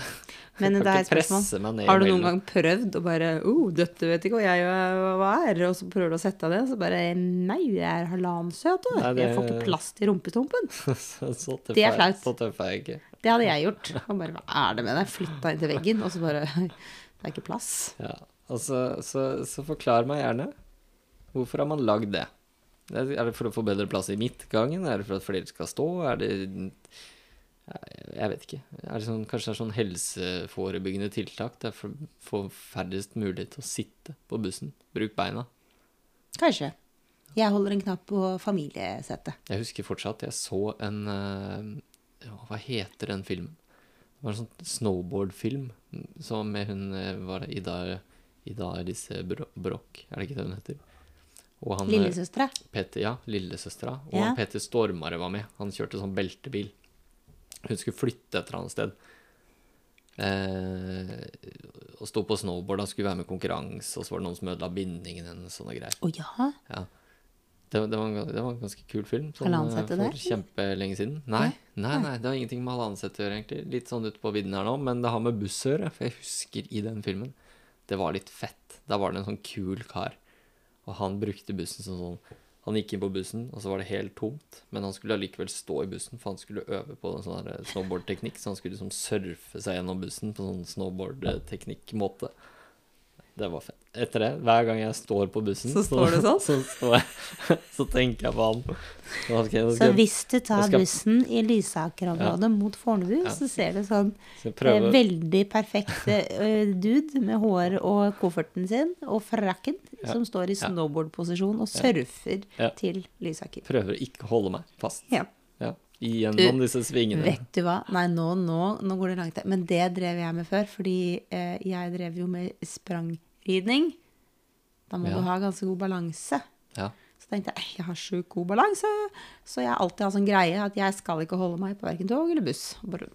Speaker 4: Men det
Speaker 1: jeg kan
Speaker 4: er et
Speaker 1: ikke presse meg
Speaker 4: spørsmål.
Speaker 1: ned
Speaker 4: Har du noen
Speaker 1: imellom.
Speaker 4: gang prøvd å bare oh, 'Dette vet ikke hva jeg hva- hva er', og så prøver du å sette deg ned, så bare 'Nei, jeg er halvannen søt, du.
Speaker 1: Nei,
Speaker 4: Jeg får
Speaker 1: det-
Speaker 4: ikke plass til rumpestumpen'.
Speaker 1: så, så tøff
Speaker 4: Det er
Speaker 1: jeg-
Speaker 4: flaut.
Speaker 1: Så tøff er jeg ikke.
Speaker 4: Det hadde jeg gjort. Og bare 'Hva er det med deg?' Flytta inn til veggen, og så bare 'Det er ikke plass'.
Speaker 1: Ja. Og så, så, så forklar meg gjerne. Hvorfor har man lagd det? Er det- er det for å få bedre plass i midtgangen? Er det for at flere skal stå? Er det Jeg vet ikke. Er det sånn, kanskje det er sånn helseforebyggende tiltak? Det er for å få færrest mulig til å sitte på bussen. Bruk beina.
Speaker 2: Kanskje. Jeg holder en knapp på familiesetet.
Speaker 1: Jeg husker fortsatt jeg så en eh, ja, Hva heter den filmen? Det var en sånn snowboardfilm mm, som med hun eh, var det Ida, Ida Elise Bro- Broch, er det ikke det hun heter? Og han, eh,
Speaker 2: Lillesøstera.
Speaker 1: Peter, ja, lillesøstera. Og
Speaker 2: Ja.
Speaker 1: Peter Stormare var med. Han kjørte sånn beltebil. Hun skulle flytte et eller annet sted. Eh, og sto på snowboard og skulle være med i konkurranse, og så var det noen som ødela bindingen hennes. Sånne greier.
Speaker 2: Å ja.
Speaker 1: Ja. Det, det, var en, gans- det var en ganske kul film. Sånn,
Speaker 2: Halvannen
Speaker 1: eh,
Speaker 2: sette
Speaker 1: for
Speaker 2: der?
Speaker 1: kjempelenge siden. Nei, nei, nei, det har ingenting med halvannen sett å gjøre, egentlig. Litt sånn ute på vidden her nå, men det har med buss å gjøre. For jeg husker i den filmen, det var litt fett. Da var det en sånn kul kar. Og han brukte bussen som sånn Han gikk inn på bussen, og så var det helt tomt. Men han skulle allikevel stå i bussen, for han skulle øve på en sånn her snowboardteknikk. Så han skulle liksom surfe seg gjennom bussen på sånn snowboardteknikk-måte. Det var fett. Etter det, hver gang jeg står på bussen,
Speaker 4: Så står du sånn?
Speaker 1: så, står jeg, så tenker jeg på han. Nå skal jeg, nå
Speaker 2: Så
Speaker 1: skal jeg,
Speaker 2: hvis du tar
Speaker 1: jeg skal-
Speaker 2: bussen i Lysaker-området mot Fornebu, så ser du sånn
Speaker 1: skal jeg
Speaker 2: eh,
Speaker 1: prøve
Speaker 2: veldig perfekt eh, dude med hår og kofferten sin og frakken som står i
Speaker 1: Ja.
Speaker 2: snowboardposisjon og surfer
Speaker 1: Ja.
Speaker 2: til Lysaker.
Speaker 1: prøver å ikke holde meg fast
Speaker 2: Ja.
Speaker 1: ja, gjennom
Speaker 2: Du,
Speaker 1: disse svingene.
Speaker 2: Vet du hva? Nei, nå, nå, nå går det langt. Men det drev jeg med før, fordi eh, jeg drev jo med sprangridning. Da må
Speaker 1: Ja.
Speaker 2: du ha ganske god balanse.
Speaker 1: Ja.
Speaker 2: Så tenkte jeg jeg har sjukt god balanse, så jeg har alltid hatt sånn greie at jeg skal ikke holde meg på verken tog eller buss. Og Bare,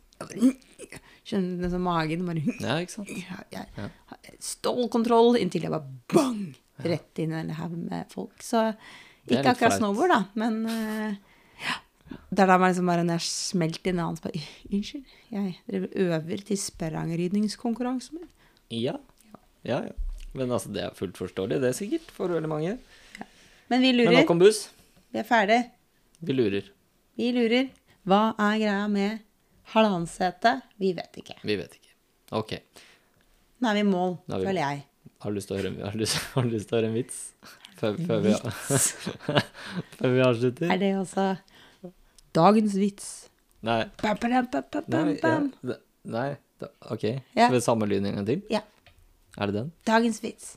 Speaker 2: kjenner liksom magen bare
Speaker 1: ja, ikke sant?
Speaker 2: jeg har Stålkontroll inntil jeg bare bang! Rett inn i en haug med folk. Så
Speaker 1: Det er
Speaker 2: ikke
Speaker 1: litt
Speaker 2: akkurat
Speaker 1: flaut.
Speaker 2: snowboard, da, men eh, ja. Det er da man liksom bare når jeg smelter inn i en annen så bare Unnskyld, jeg driver øver til sprangrydningskonkurransen min.
Speaker 1: Ja. ja, ja. Men altså, det er fullt forståelig, det er sikkert, for veldig mange.
Speaker 2: Men vi
Speaker 1: Men
Speaker 2: lurer.
Speaker 1: nok om buss.
Speaker 2: Vi er ferdig.
Speaker 1: Vi lurer.
Speaker 2: Vi lurer. Hva er greia med halvannsete? Vi vet ikke.
Speaker 1: Vi vet ikke. Ok.
Speaker 2: Nå er vi i mål,
Speaker 1: Nå er vi i
Speaker 2: føler jeg.
Speaker 1: Har du lyst til å høre, har du lyst, har du lyst til å høre en vits? Før, før, vi, før vi avslutter?
Speaker 2: Er det også dagens vits?
Speaker 1: Nei.
Speaker 2: Bam, bam, bam, bam,
Speaker 1: Nei,
Speaker 2: bam,
Speaker 1: ja,
Speaker 2: bam.
Speaker 1: det, nei. Da, ok.
Speaker 2: Ja.
Speaker 1: Skal vi sammenligne en gang til?
Speaker 2: Ja.
Speaker 1: Er det den?
Speaker 2: Dagens vits.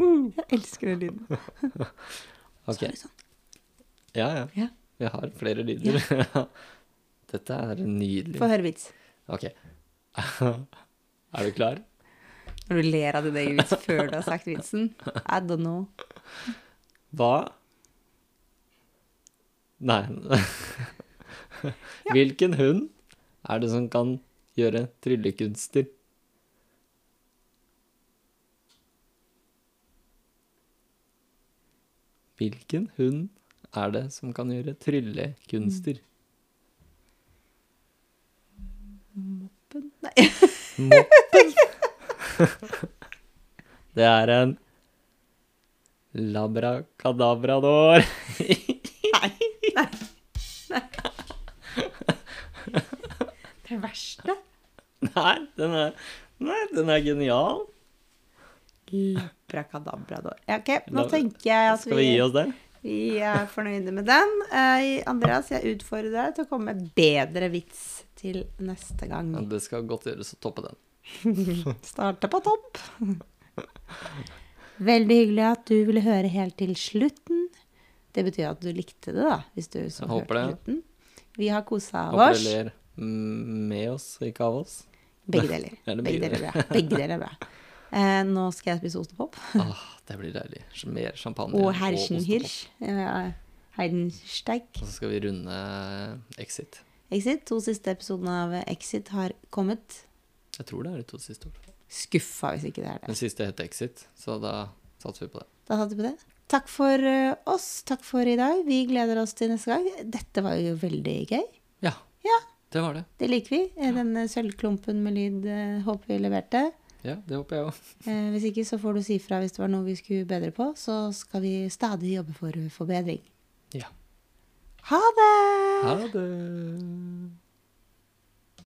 Speaker 4: Jeg elsker den lyden.
Speaker 1: Ok.
Speaker 2: er det sånn.
Speaker 1: Ja, ja.
Speaker 2: Ja.
Speaker 1: Vi har flere lyder. Dette er nydelig.
Speaker 2: Få høre vits.
Speaker 1: Ok. er du klar?
Speaker 4: Når du ler av din egen vits før du har sagt vitsen.
Speaker 2: I don't know.
Speaker 1: Hva? Nei. Hvilken hund er det som kan gjøre tryllekunster? Hvilken hund er det som kan gjøre tryllekunster? Moppen? Nei. Moppen? Det er en labrakadabrador.
Speaker 4: Det verste.
Speaker 1: Nei, den er, nei, den er genial.
Speaker 4: Brakadabrador.
Speaker 2: Ja, ok, nå
Speaker 1: Da-
Speaker 2: tenker jeg at
Speaker 1: Skal vi
Speaker 2: vi,
Speaker 1: gi oss den?
Speaker 2: vi er fornøyde med den. Eh, Andreas, jeg utfordrer deg til å komme med bedre vits til neste gang.
Speaker 1: Ja, det skal godt gjøres å toppe den.
Speaker 2: Starte på topp. Veldig hyggelig at du ville høre helt til slutten. Det betyr at du likte det, da. Hvis du så
Speaker 1: Jeg
Speaker 2: hørte
Speaker 1: håper det.
Speaker 2: slutten. Vi har kosa
Speaker 1: Håper
Speaker 2: oss.
Speaker 1: du ler mm, med oss, ikke av oss.
Speaker 2: Begge deler.
Speaker 1: Ja, det
Speaker 2: Begge
Speaker 1: blir det.
Speaker 2: deler er bra. Begge deler er bra. Eh, nå skal jeg spise ostepop.
Speaker 1: Ah, det blir deilig. Mer champagne
Speaker 2: Og
Speaker 1: ostepop.
Speaker 2: Hersenhirsch. eh, Heidensteig.
Speaker 1: Og så skal vi runde Exit.
Speaker 2: Exit. To siste episodene av Exit har kommet.
Speaker 1: Jeg tror det er de to siste ordene.
Speaker 2: Skuffa hvis ikke det er det.
Speaker 1: Den siste het Exit, så da satser vi på det.
Speaker 2: Da satte vi på det. Takk for eh, oss. Takk for i dag. Vi gleder oss til neste gang. Dette var jo veldig gøy.
Speaker 1: Ja.
Speaker 2: Ja.
Speaker 1: Det var det.
Speaker 2: Det liker vi. Eh, Denne sølvklumpen med lyd eh, håper vi leverte.
Speaker 1: Ja, det håper jeg òg.
Speaker 2: Eh, Hvis ikke så får du si fra hvis det var noe vi skulle bedre på. Så skal vi stadig jobbe for forbedring.
Speaker 1: Ja.
Speaker 2: Ha det!
Speaker 1: Ha det.